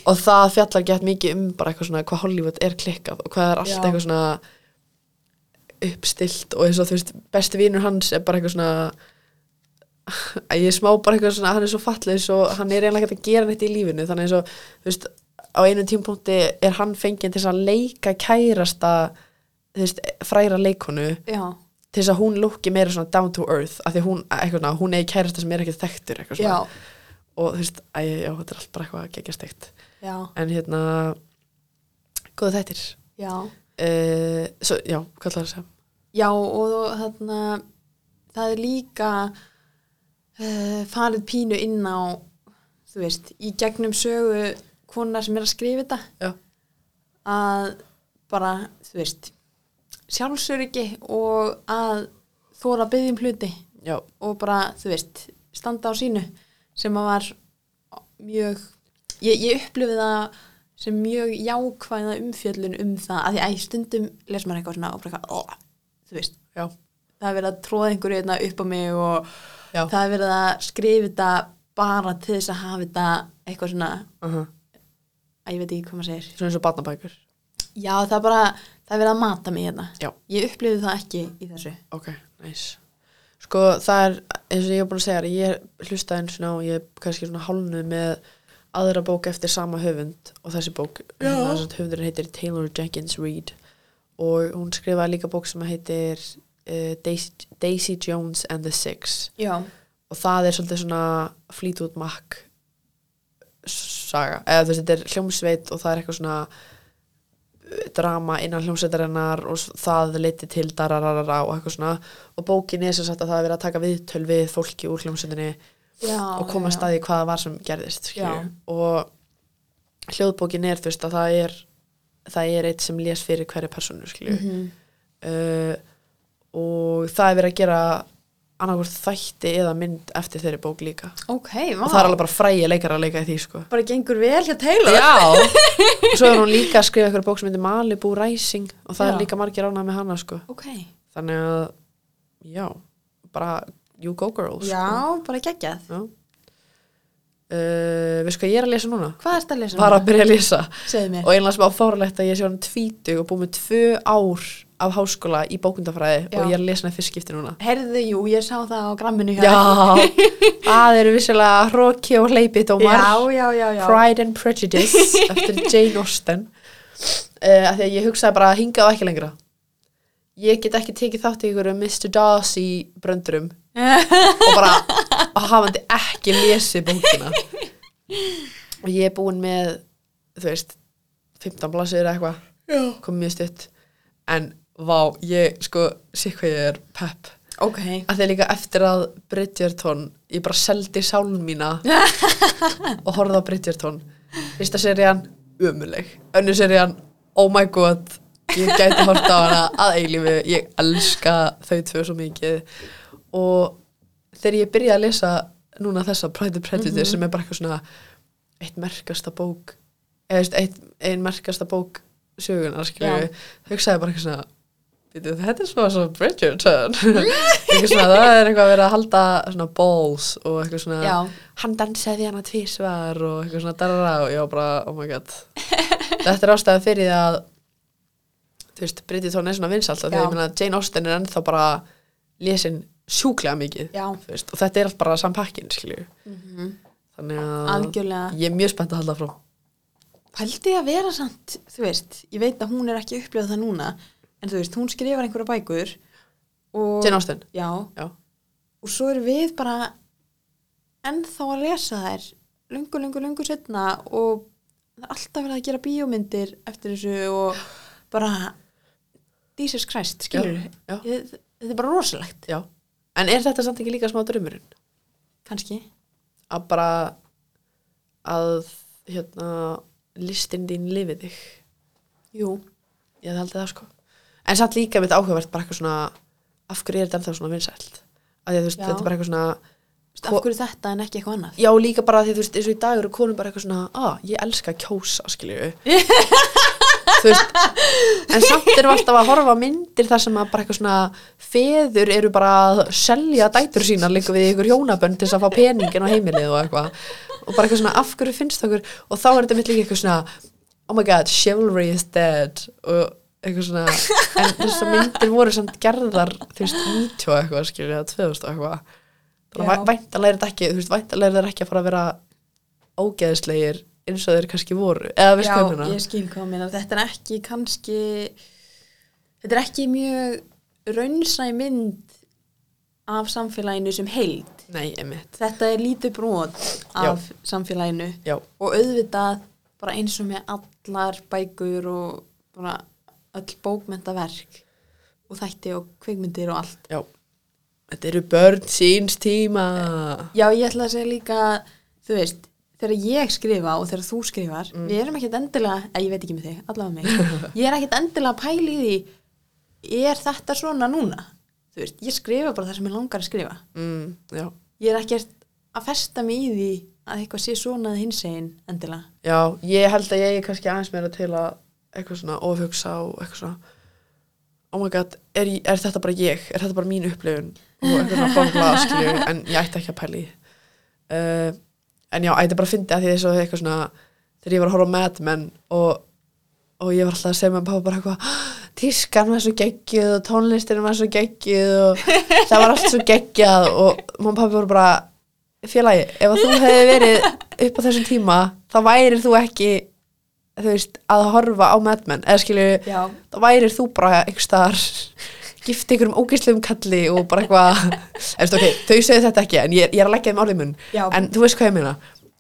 og það fjallar gett mikið um bara eitthvað svona hvað Hollywood er klikkað og hvað er allt
Já.
eitthvað svona uppstilt og eins og þú veist besti vinur hans er bara eitthvað svona (laughs) að ég er smá bara eitthvað svona hann er svo fallegis og hann er eiginlega ekki að gera neitt í lífinu þannig eins og þú veist á einu tímpunkti er hann fenginn til þess að leika kærasta þú veist fræra leikonu
(laughs) já,
til þess að hún lukki meira svona down to earth af því hún, eitthvað svona, hún eigi kærasta sem er ekki þekktur eitthvað
já
svona og þú veist, æ, já, þetta er allt bara eitthvað að gegja steikt
já,
en hérna góða þættir
já
uh, svo, já, hvað ætlaðu að segja
Já og þarna það er líka uh, farið pínu inn á þú veist, í gegnum sögu konar sem er að skrifa þetta
já,
að bara, þú veist sjálfsöryggi og að þóra byggðum hluti
já,
og bara, þú veist, standa á sínu sem að var mjög ég, ég upplifið það sem mjög jákvæða umfjöllun um það að því að í stundum les maður eitthvað svona og bara eitthvað, "Ugh", þú veist,
já,
það er verið að tróða einhverju hérna upp á mig og
já,
það er verið að skrifa þetta bara til þess að hafa þetta eitthvað svona,
uh -huh.
að ég veit ekki hvað maður segir
svona eins og barnabækur,
já, það er bara, það er verið að mata mig hérna
Já.
ég upplifði það ekki í þessu
ok, nice. Sko það er, eins og ég er búin að segja, þér, ég hlustaði eins og ná, ég er kannski svona hálnuð með aðra bók eftir sama höfund og þessi bók,
Já.
hérna, sem sagt, höfundurinn heitir Taylor Jenkins Reid og hún skrifaði líka bók sem heitir uh, Daisy, Daisy Jones and the Six
já,
og það er svolítið svona flýt út makk saga, eða þú veist, þetta er hljómsveit og það er eitthvað svona eh, drama innan hljómsveitarinnar og s- það leiti til darararara og eitthvað svona og bókin er sem sagt að það er verið að taka viðtöl við fólki úr hljómsveitinni
já
og koma
já.
staði hvað það var sem gerðist skilju. og hljóðbókin er þú veist að það er það er eitt sem les fyrir hverja personu skilju
Mhm.
uh, og það er verið að gera annarkvort þætti eða mynd eftir þeirri bók líka
ok, vá.
og það er alveg bara fræja leikar að leika í því sko
bara gengur vel hjá Taylor
Já, og svo er hún líka að skrifa eitthvað bók sem heitir Malibu Rising og það
Já.
er líka margir ánað með hana sko
ok,
þannig að, já, bara you go girls sko.
já, bara geggjað
já. Uh, veistu hvað ég er að lesa núna?
hvað er þetta að lesa?
Bara að byrja að lesa
segðu mér
og einlega sem á fáralegt að ég sé hann tvítug og búið með tvö ár af háskóla í bókundafræði
Já.
og ég er að lesa hana fyrst skipti núna
Herðu, jú, ég sá það á gramminu hjá þér.
Já, (laughs) það eru vissilega hróki og hleypi dómar
já, já, já, já.
Pride and Prejudice eftir Jane Austen uh, af því að ég hugsaði bara að hinga á ekki lengra ég get ekki tekið þátt í ykkur Mr. Darcy bröndurum og bara hafandi ekki lesið bókina og ég er búin með þú veist 15 blassir eða eitthvað
já.
kom mjög stutt en vá, ég sko sé hvað ég er pepp
ok
að því líka eftir að Bridgerton ég bara seldi sálun mína og horfði á Bridgerton fyrsta serían, umuleg önnu serían, oh my god ég gæti hort á hana að eilífi ég elska þau tvö svo mikið og þegar ég byrja að lesa núna þessa Pride and Prejudice sem er bara eitthvað svona eitt merkasta bók eða veist, eitt, ein merkasta bók sögunar skilju, hugsaði bara eitthvað svona "Bíddu, þetta er svona svo Bridgerton eitthvað svona, það er eitthvað að vera að halda svona balls og eitthvað svona
já,
hann dansaði hana tvísvar og eitthvað svona darara og ég var bara, oh my god þetta er ástæða fyrir því að þú veist, Bridgerton er svona vinsalt þegar
Já.
ég meina að Jane Austen er ennþá bara lesin sjúklega mikið
já Mhm.
þú veist, og þetta er allt bara sampakkin skilju, þannig að
algjörlega
ég er mjög spennt að halda frá
Pældi að vera samt, þú veist, ég veit að hún er ekki upplifað það núna, en þú veist, hún skrifar einhverja bækur og,
Jane Austen,
já,
já,
og svo erum við bara ennþá að lesa þær lungu, lungu, lungu setna og það er alltaf verið að gera bíómyndir eftir þessu og bara Jesus Christ, skilur
já, já,
við, þetta er bara rosalegt,
já en er þetta samt ekki líka smá drömmurinn?
kannski.
að bara að hérna listin þín lifið þig
Jú,
ég held það sko en samt líka mitt áhugavert bara eitthvað svona af hverju er þetta ennþá svona vinsælt að því að þú veist
Já.
þetta er bara eitthvað svona
Þú veist, af hverju þetta en ekki eitthvað annað?
já líka bara því þú veist eins og í dag eru konum bara eitthvað svona að ég elska að kjósa skilju þú veist en samt erum við alltaf að horfa á myndir þar sem að bara eitthvað svona feður eru bara að selja dætur sínar líka við ykkur hjónabönd til þess að fá peningin á heimilið og eitthvað og bara eitthvað svona af hverju finnst okkur og þá er þetta mitt líka eitthvað svona oh my god, chivalry is dead og eitthvað svona en þessar myndir voru samt gerðar þú veist, 90 og eitthvað skilja eða 2000 og eitthvað þannig
Já.
að væntanlega er þetta ekki þú veist, væntanlega er þetta ekki að fara að vera ógeðslegir eins og þeir kannski voru eða við skoðum
Já, ég skil hvað minna. Þetta er ekki kannski, þetta er ekki mjög raunsæ mynd af samfélaginu sem heild.
nei, emitt,
Þetta er lítið brot af samfélaginu
já
og auðvitað bara eins og með allar bækur og bara öll bókmentaverk og þætti og kveikmyndir og allt.
Já. Þetta eru börn síns tíma.
Já, ég ætla að segja líka, þú veist, þegar ég skrifa og þegar þú skrifar, við erum ekkert endilega, eða ég veit ekki með þig, allavega mig, (laughs) ég er ekkert endilega að pæla í því, er þetta svona núna? Þú veist, ég skrifa bara það sem ég langar að skrifa.
Mm, já.
Ég er ekkert að festa mig í því að eitthvað sé svona að hins einn endilega
Já, ég held að ég er kannski aðeins meira til að eitthvað svona ofhugsa og eitthvað svona oh my god, er, ég- er þetta bara ég? Er þetta bara mín upplifun? Og eitthvað svona bóðla skilju, en ég ætti ekki að pæli uh, En já, ætti bara að fyndi að því þess að eitthvað svona þegar ég var að horfa á Mad Men og, og ég var alltaf að segja með pappa bara eitthvað "Ah, tískan var svo geggjuð og tónlistin var svo geggjuð og það var allt svo geggjað og mamma og pappi voru bara félagi, ef að þú hefði verið upp á þessum tíma, þá værir þú ekki þú veist, að horfa á Mad Men, eða skilju
Já.
þá værir þú bara einhvers staðar gift einhverjum ógeislegum kalli og bara eitthvað, eftir ok, þau segðu þetta ekki en ég, ég er að leggja þeim orðið mun
Já.
en þú veist hvað ég meina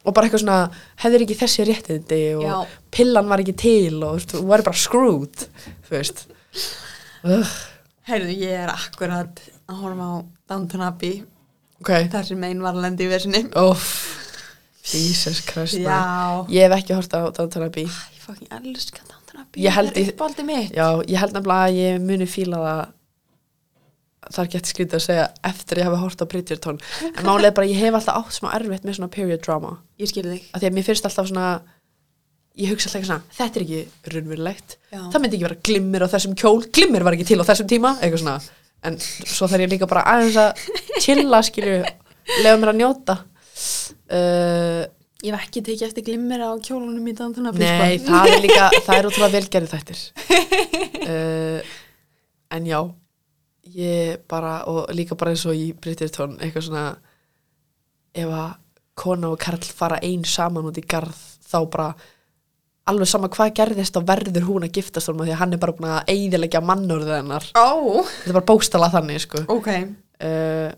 og bara eitthvað svona, hefðir ekki þessi réttindi og
Já.
pillan var ekki til og þú veist, þú væri bara screwed þú veist uh,
Herðu, ég er akkurat að horfa á Downton Abbey
ok,
þar sem einn var að lenda í versinni
óf Jesus Christ maður.
Já
ég hef ekki hort á Downton Abbey
Æ, Ég fokkin elska Downton Abbey
Ég held
Það
ég-
er uppáldi mitt
Já, ég held nefnilega að ég muni fíla það það er gett skrítið að segja eftir ég hafi hort á Bridgerton en málið er bara að ég hef alltaf átt smá erfitt með svona period drama
Ég skil þig
af því að mér finnst alltaf svona ég hugsa alltaf eitthvað svona, þetta er ekki raunverulegt
Já.
það myndi ekki vera glimmir á þessum kjól glimmir var ekki til á þessum tíma, eitthvað svona en svo þarf ég líka bara aðeins að chilla skilju, lefa mér að njóta uh,
Ég hef ekki tekið eftir glimmir á kjólunum í Downton Abbey
Nei,
sko.
það er líka, það er ótrúlega velgerðið þættir uh, En já Ég bara, og líka bara eins og í Brittirtón, eitthvað svona ef að kona og karl fara ein saman út í garð þá bara, alveg sama hvað gerðist þá verður hún að giftast honum af því að hann er bara búin að eyðilegja mannurðið hennar
Ó,
Þetta er bara bóstala þannig, sko
ok
uh,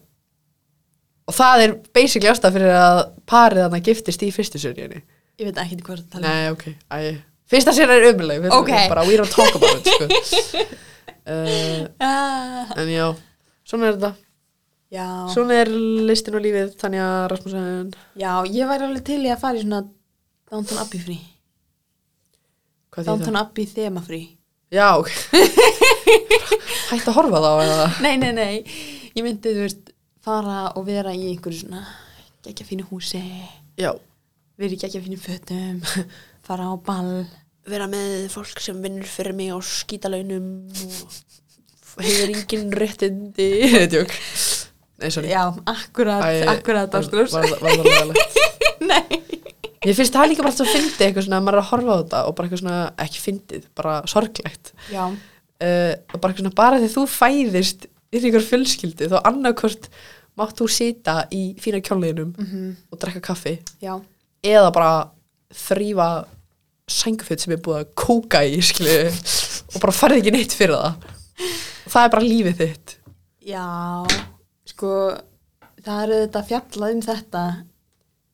Og það er basically ástæð fyrir að parið hann að giftist í fyrstu sörjunni
Ég veit ekki hvað það
Nei, ok, æ Fyrsta sér er umlega,
Ok.
bara we don't talk about it sko. uh,
ah,
En já, svona er þetta
Já
Svona er listin og lífið Tanja Rasmussen
Já, ég væri alveg til í að fara í svona Downton Abbey frí
Hvað þýðir það?
Downton Abbey þema frí
Já,
(laughs)
ok Hætt að horfa þá eða
Nei, nei, nei Ég myndi, þú veist, fara og vera í einhverju svona geggja fínu húsi
Já, (laughs)
vera í geggja fínu fötum (laughs) fara á ball
vera með fólk sem vinnur fyrir mig á skítalaunum og hefur engin réttindi Þetta Nei, sorry
Já, akkurat,
Æ,
akkurat
var-
ástrós
var það- var það lagalegt?
(laughs) Nei
Ég finnst það líka bara svo fyndið eitthvað svona að maður er að horfa á þetta og bara eitthvað svona, ekki fyndið, bara sorglegt
Já,
uh, og bara eitthvað svona, bara því þú fæðist í ykkur fjölskyldu þá annarkvort mátt þú sita í fína kjónleginum
Mhm.
og drekka kaffi
já,
eða bara þrýfa sængufjöld sem er búið að kóka í skilju og bara farið ekki neitt fyrir það og það er bara lífið þitt
já Sko, það eru þetta fjallað um þetta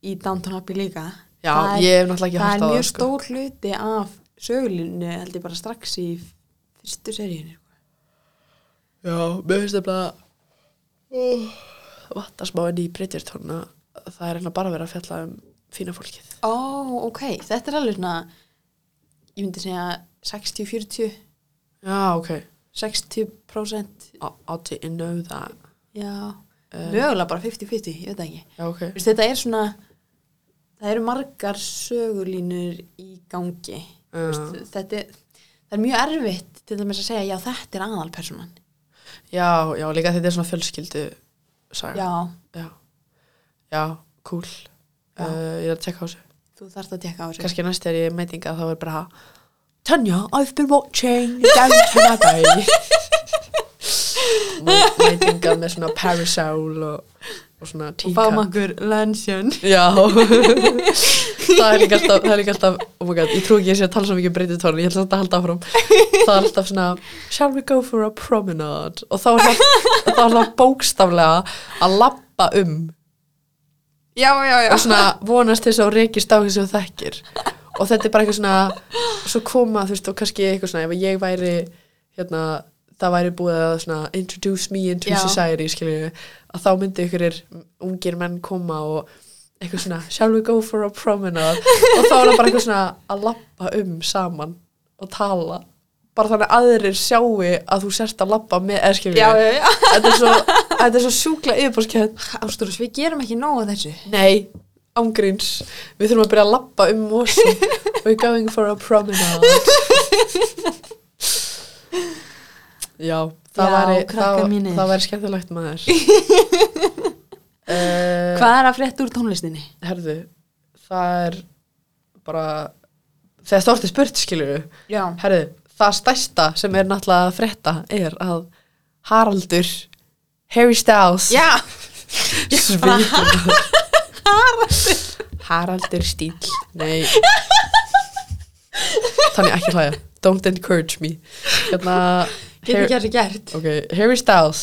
í Downton Abbey líka
Já,
það er,
ég hef náttúrulega ekki
það
hort á
er mjög
það, sko.
stór hluti af sögulinu held ég bara strax í fyrstu seríunni
Já, mér finnst það bara oh, vatna smá enn í Bridgerton að það er einnig bara verið að fjalla um fína fólkið
Ó, ok, þetta er alveg svona ég myndi segja 60-40
Já, ok
60%
Átti I know that
já, mögulega bara 50-50 ég veit það ekki,
Eh, Já, ok
Þú veist, þetta er svona það eru margar sögulínur í gangi Þú
Já.
veist, þetta er það er mjög erfitt til dæmis að segja já, þetta er aðalpersonan
Já, já, líka þetta er svona fjölskyldu saga
já,
Já, já cool
Já.
Uh, Ég er að tjekka á þessu
þú þarft að tekka á þessu
Kannski næst er ég meitinga þá er bara Tanya, I've been watching Downton Abbey Me- Meitinga með svona parasol og, og svona
og
tíka
fáum okkur (laughs) luncheon
Já Það er líka alltaf, það er líka alltaf oh my god, ég trú ekki að ég sé að tala svo mikið um breytið tónu ég ætla samt að halda áfram það er alltaf svona shall we go for a promenade og þá er það, þá er það bókstaflega að labba um
já, já, já
og svona vonast til þess að hún rekist á þessu og þekkir og þetta er bara eitthvað svona svo koma þú veist og kannski eitthvað svona ef ég væri hérna það væri búið að svona introduce me into
Já.
society skilju að þá myndi ykkurir ungir menn koma og eitthvað svona shall we go for a promenade og þá er það bara eitthvað svona að lappa um saman og tala bara þannig að aðrir sjáu að þú sért að labba með erskilju
já, já, já.
þetta er svo, þetta er svo sjúkla yfirborskjönd
Ástúrus, við gerum ekki nóg að þessu.
nei, ángríns við þurfum að byrja að labba um
(laughs)
mosin we're going for a promenade já, það
Já,
væri
krakkar
það,
mínir.
það væri skemmtilegt
(laughs)
maður uh,
Hvað er að frétta úr tónlistinni?
herðu það er bara þegar stórti spurt skilur við
Já.
Herðu, það stærsta sem er náttúrulega að frétta er að Haraldur Harry Styles
(laughs) Já,
Svíður Haraldur stíl Nei (laughs) Þannig ekki hlæja Don't encourage me hérna,
getur
Har-
ekki þessu gert.
okay, Harry Styles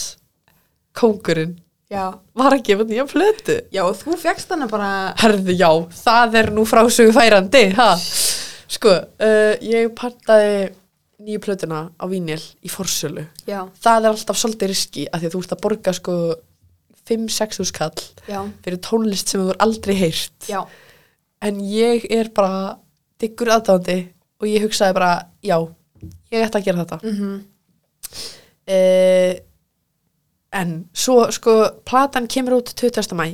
Kóngurinn
Já.
Var að gefa nýja plötu
Já, og þú fegst hana bara...
Herðu, já, það er nú frásögu færandi, ha? Sko, uh, ég pantaði nýju plötuna á vínil í forsölu.
Já,
Það er alltaf svolítið riski af því að þú ert að borga sko 5-6 úrskall
já,
fyrir tónlist sem þú er aldrei heyrt.
já.
En ég er bara diggur aðdáðandi og ég hugsaði bara, já, ég ætti að gera þetta.
Mm
uh, en svo sko platan kemur út 20. mæ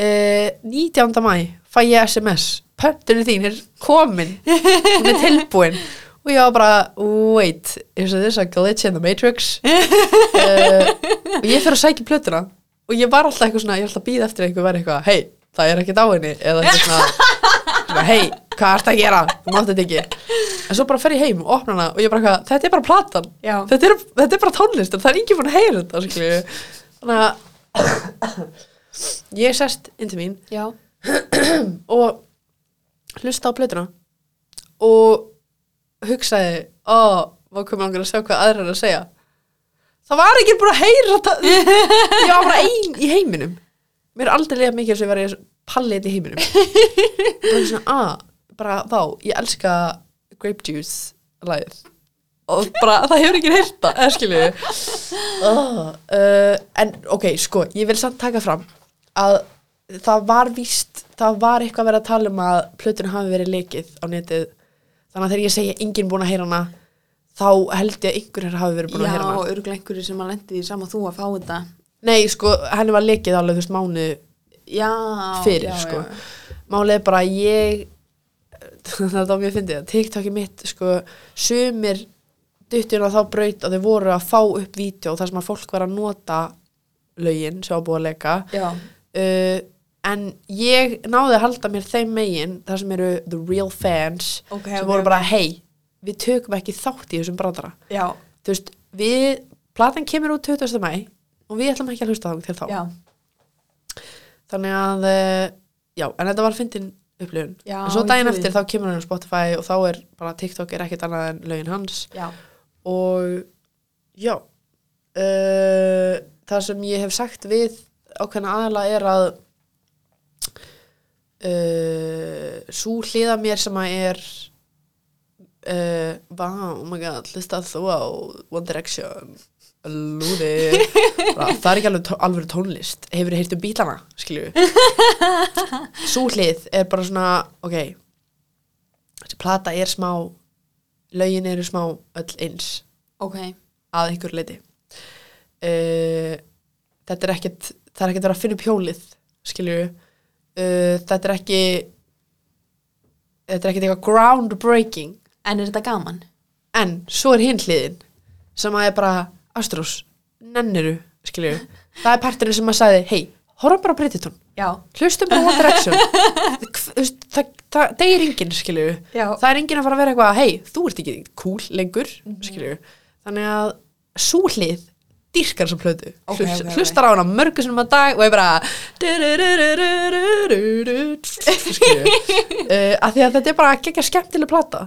uh, 19. mæ fæ ég sms pöntunum þín er komin hún er tilbúin og ég var bara, wait is this a glitch in the matrix uh, og ég fyrir að sækja um plötuna og ég var alltaf eitthvað svona, ég var alltaf að býða eftir að einhver verið eitthvað, hei, það er ekkert á henni eða eitthvað svona, svona hei, hvað ertu að gera, þú mátt þetta ekki en svo bara fer ég heim og opna hana og ég bara eitthvað, þetta er bara platan
Já.
þetta er, þetta er bara tónlist en það er ekki búin að heyra þetta skilju. þannig að ég sest inn til mín
Já.
og hlusta á plötuna og hugsaði ó, maður komið langar að sjá hvað aðra er að segja það var ekki búin að heyra þetta ég var bara ein í heiminum mér er aldrei lega mikið sem verið pallit í heiminum bara svona að, bara vá, ég elska grape juice lagið og bara það hefur ekki heyrt það, eða skilju oh, uh, en ok, sko, ég vil samt taka fram að það var víst það var eitthvað verið að tala um að plötunum hafi verið leikið á netið þannig að þegar ég segja enginn búin að heyra hana þá held ég að einhverjar hafi verið búin að heyra
Já,
hana
örgulega einhverju sem að lendi því sama þú að fá þetta.
Nei, sko, henni var lekið alveg, þú veist, mánu
Já.
fyrir,
já,
sko.
Já,
Málið er bara að ég, (laughs) það er þá mjög fyndið, TikTokið mitt, sko, sumir duttur á þá braut og þau voru að fá upp vídeo þar sem að fólk var að nota lögin sem var búið að leika.
já.
Uh, en ég náði að halda mér þeim megin, þar sem eru the real fans,
Ok,
sem
ok,
voru
ok.
bara, hei, við tökum ekki þátt í þessum brandara.
Já,
Þú veist, við, platan kemur út 20. mæ og við ætlum ekki að hlusta þá til þá.
já.
þannig að eh, já, en þetta var fyndin upplifun
Já,
en svo daginn
ég trúi
eftir þá kemur hann á Spotify og þá er bara TikTok er ekkert annað en lögin hans
Já.
og já uh, það sem ég hef sagt við ákveðna aðla er að uh, svo hliða mér sem að er uh, vá, oh my god, hlusta þú á One Direction lúði Bara, það er ekki alveg tó alveg tónlist hefur þið heyrt um bílana, skilju svo hlið er bara svona ok þessi plata er smá lögin eru smá öll eins
Ok.
að einhver leiti uh, þetta er ekkert það er ekkert verið að finna upp hjólið skilju uh, þetta er ekki þetta er ekkert eitthvað groundbreaking
En er þetta gaman?
en svo er hinn hliðin sem að er bara Astrós, nenniru skilju, það er parturinn sem að sagði hei, horfum bara á breytitón
Já.
hlustum bara á One Direction Hv- þú veist, það, það, það er enginn skilju
Já.
það er enginn að fara að vera eitthvað hei, þú ert ekki cool lengur
Mhm.
skilju, þannig að svo hlið dýrkar sem
Ok,
plötu Hlust,
ok, ok.
hlustar á hana mörgu sem að dag og er bara
(laughs)
skilju uh, að því að þetta er bara að gegja skemmtileg plata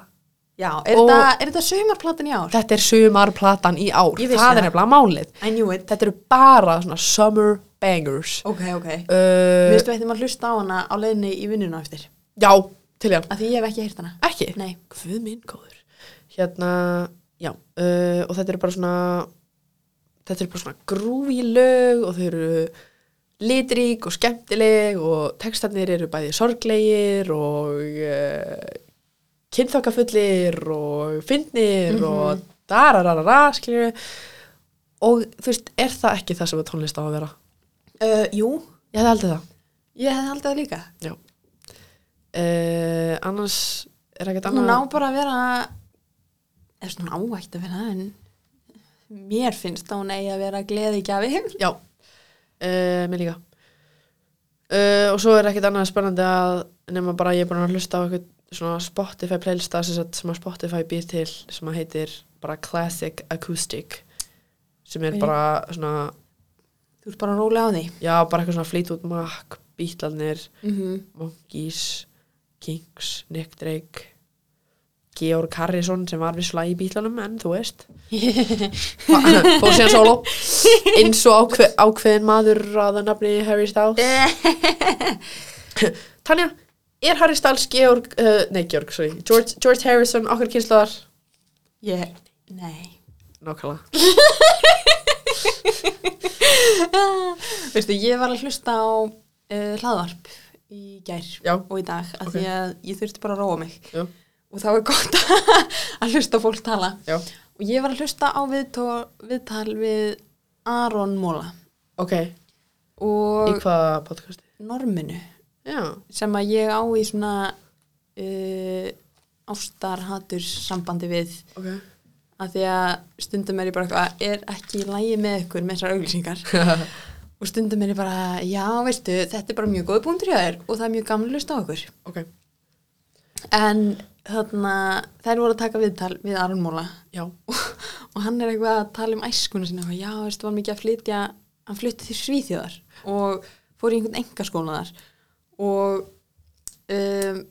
Já, er
Og-
þetta- er þetta sömarplatin í ár?
þetta er sumarplatan í ár
Ég vissi
það er
það.
nefnilega málið
I knew it.
þetta eru bara svona summer bangers
Ok, ok. Mér
uh,
finnst við ættum að hlusta á hana á leiðinni í vinnuna á eftir.
já, til ég
Af því ég hef ekki heyrt hana.
ekki
Nei.
Guð minn góður Hérna, já uh, Og þetta eru bara svona Þetta eru bara svona grúfi lög Og þau eru litrík og skemmtileg Og textarnir eru bæði sorglegir Og uh, kynþokkafullir og fyndnir og darararara, skilju og þú veist, er það ekki það sem að tónlist á að vera?
Uh, jú,
Ég hefði haldið það
ég hefði haldið það líka.
Já uh, Annars er ekkert
Hún
annað
á bara að vera, eða svona hún á ekki að vera það, en mér finnst að hún eigi að vera gleði gjafi.
Já, uh, mér líka uh, Og svo er ekkert annað spennandi að nema bara að ég er búin að hlusta á eitthvað svona Spotify playlista sem, sagt, sem að Spotify býr til sem að heitir bara Classic Acoustic sem er
Ok.
bara svona
Þú ert bara rólega á því.
já, bara eitthvað svona Fleetwood Mac Beatlanir,
Mm -hmm.
Mhm. Monkeys Kings, Nick Drake Georg Harrison sem var visslega í bílanum en þú (laughs) veist fór síðan solo eins og ákve, ákveðin maður að það nafni Harry (laughs) Styles Tanja, er Harry Styles Georg, uh, nei Georg, sorry George, George Harrison, okkur kynslaðar
Ég, nei. (laughs)
nákvæmlega,
Veistu, ég var að hlusta á uh, hlaðvarp í gær
Já.
og í dag af
Ok.
því að ég þurfti bara að róa mig
já,
og þá er gott (laughs) að hlusta á fólk tala
já
og ég var að hlusta á viðtó, viðtal við Aron Móla
ok, í
og
hvaða podcasti?
norminu
já,
sem að ég á í svona uh, ástarhatur sambandi við
(laughs) ok
af því að stundum er ég bara eitthvað er ekki í lægi með ykkur með þessar auglýsingar og stundum er ég bara, já veistu, þetta er bara mjög góð punktur hjá þér og það er mjög gamlega lust á okkur
ok,
en þarna, þær voru að taka viðtal við Aron Móla
já
og hann er eitthvað að tala um æskuna sína og já, veistu, var mikið að flytja hann flytti til Svíþjóðar og fór í einhvern engaskóla þar og um, (laughs)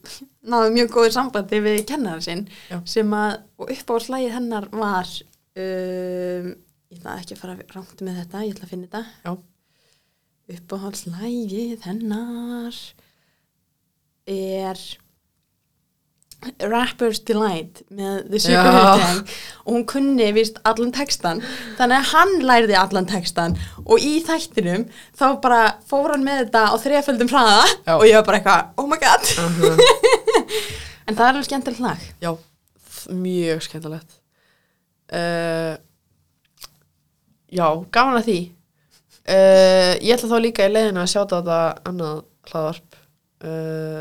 náðu mjög góðu sambandi við kennara sinn
Já.
sem að, og upp á slægið hennar var um, ég ætla ekki að fara rangt með þetta, ég ætla að finna þetta
já,
uppáhaldslægið hennar er Rapper's Delight með The Sugar
Já.
Hill Gang og hún kunni vist allan textan þannig að hann lærði allan textan og í þættinum þá bara fór hann með þetta á þreföldum hraða
Já.
og ég var bara eitthvað, oh my god
aha
(laughs) en það er alveg skemmtilegt lag
Já, þ- mjög skemmtilegt uh, Já, gaman að því uh, Ég ætla þá líka í leiðinu að sjáta þetta annað hlaðvarp uh,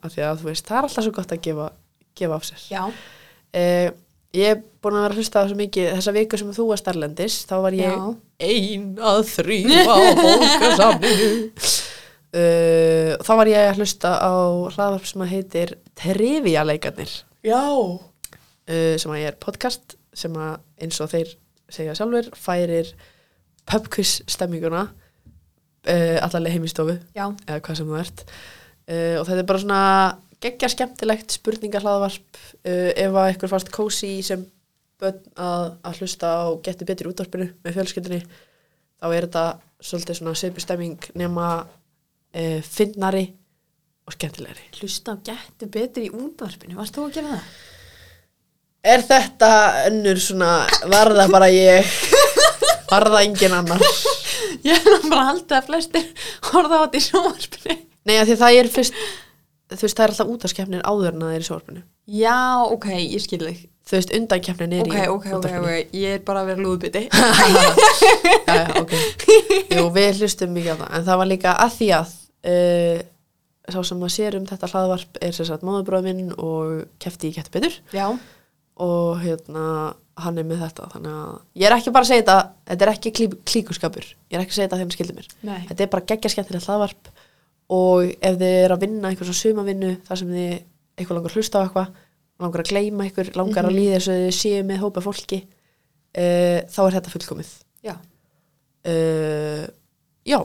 af því að þú veist, það er alltaf svo gott að gefa, gefa af sér
já,
uh, Ég er búin að vera að hlusta á svo mikið þessa viku sem þú varst erlendis þá var ég
Já.
ein að þrýfa á bókasamninu Uh, þá var ég að hlusta á hlaðvarp sem að heitir Trivia leikarnir
já.
uh, sem að ég er podcast sem að eins og þeir segja sjálfur færir pubquiz stemminguna uh, allarlega heimistofu
já.
eða hvað sem þú ert uh, og þetta er bara svona geggja skemmtilegt spurningahlaðvarp uh, ef að ykkur fannst kósi sem bönn að, að hlusta á geti betur útvarpinu með fjölskyldinni þá er þetta svolítið svona svipu stemming nema uh, finnari og skemmtilegri
hlusta á gettu betur í útvarpinu varst þú að gera það?
Er þetta önnur svona, var það bara ég, var það engin annar?
(laughs) ég hef bara haldið að flestir horfa á þetta í sjónvarpinu
Nei, af því það er fyrst, þú veist, það er alltaf útaskefnin áður en það er í sjónvarpinu.
já, ok, ég skil þig
Þú veist, undankefnin er
ok,
í
ok, ok,
(laughs)
ok, ég er bara að vera lúðbytti
ok. Jú, við hlustum mikið á það, en það var líka að því að uh, sá sem að sér um þetta hlaðvarp er sér satt móðurbróð minn og kefti í getur betur
(laughs) já,
og hérna, hann er með þetta, þannig að ég er ekki bara að segja þetta, þetta er ekki klí, klíkuskapur, ég er ekki að segja þetta þegar hann skildi mér.
nei
þetta er bara geggja skemmtilegt hlaðvarp og ef þið eru að vinna einhver svona sumavinnu þar sem þið eitthvað langar að hlusta á eitthvað langar að gleyma eitthvað, langar
Mhm.
að líða þess að þið séu með hópa fólki uh, þá er þetta fullkomið
já,
uh, já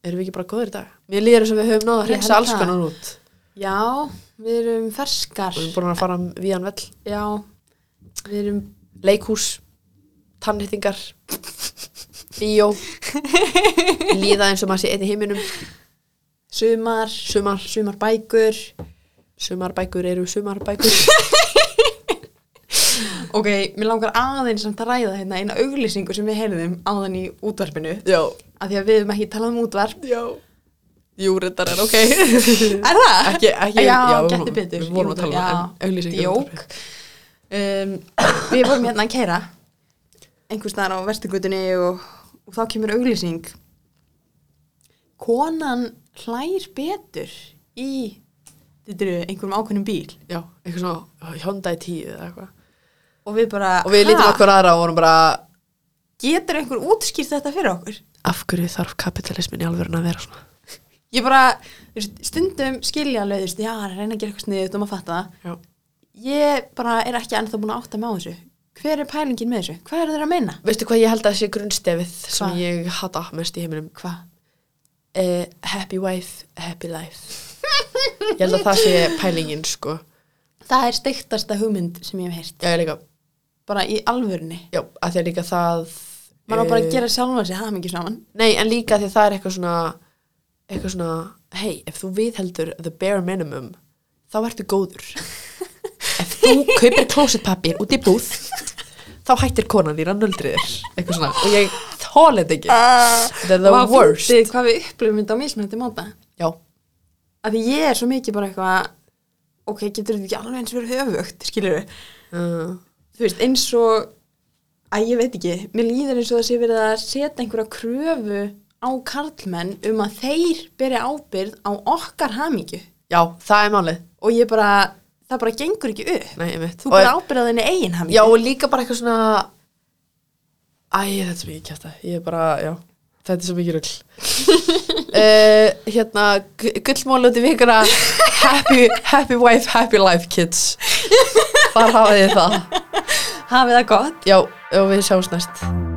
erum við ekki bara góðir í dag mér líður þess að við höfum náða að
Ég
hreinsa
held
alls
það.
konar út
já við erum ferskar
við erum búin að fara víðan vell
já, við erum
leikhús, tannhýttingar bíó líða eins og maður sé einn í heiminum
sumar
sumar
sumar bækur
Sumarbækur eru sumarbækur
ok, mér langar aðeins samt að ræða hérna eina auglýsingu sem við heyrðum áðan í útvarpinu
(laughs) Já,
af því að við erum ekki talað um útvarp
já Jú, reyndar er ok Ekki,
Er það?
(laughs) ekki
já,
við
getur
vorum-
betur
Við vorum að tala um en auglýsingar
Jók um, Við vorum hérna að keira einhvers staðar á vestugutinni og, og þá kemur auglýsing Konan hlær betur í dytru, einhverjum ákveðnum bíl
Já, eitthvað svona Hyundai 10 eða eitthvað
og við bara
Og við lítum
"Ha,
okkur aðra og vorum bara
Getur einhver útskýrt þetta fyrir okkur?
Af hverju þarf kapitalismin í alvörun að vera svona?
Ég bara, þú veist, stundum skilja alveg, þú veist, já, hann er að reyna að gera eitthvað sniðut og maður fatta það
Já,
ég bara er ekki ennþá búin að átta mig á þessu hver er pælingin með þessu, hvað eru þeir að meina
Veistu hvað ég held að sé grunnstefið sem
Hvað?
ég hata mest í heiminum?
hvað,
Uh, happy wife, happy life. ég held að það sé pælingin, sko.
það er steiktasta hugmynd sem ég hef heyrt,
Já, ég líka,
bara í alvörunni
já, að því að líka það...
maður á bara að
eh,
gera sjálfa sér það mikið saman
Nei, en líka því að það er eitthvað svona, eitthvað svona, hey, ef þú viðheldur the bare minimum, þá ertu góður. ef þú kaupir klósitpapir út í búð, þá hættir konan þín að nöldri þér. Eitthvað svona, og ég þóla þetta ekki. Þetta er Ah. the
Vá,
worst.
fyndið hvað við upplifum þetta á mismunandi máta
Já,
að því ég er svo mikið bara eitthvað ok, getur þetta ekki alveg eins verið höfugt skilur við,
uh,
þú veist, eins og að ég veit ekki, mér líður eins og það sé verið að setja einhverja kröfu á karlmenn um að þeir beri ábyrð á okkar hamingju
já, það er málið.
og ég bara, það bara gengur ekki upp
Nei, einmitt.
þú
Og-
bara ábyrðaðinni eigin hann
Já, og líka bara eitthvað svona Æ, þetta er svo mikið kjæfta Ég er bara, já, þetta er svo mikið rugl uh, Hérna gullmóla út í vikuna happy, happy wife, happy life kids Þar hafið þið það
hafið það gott
Já, og við sjáumst næst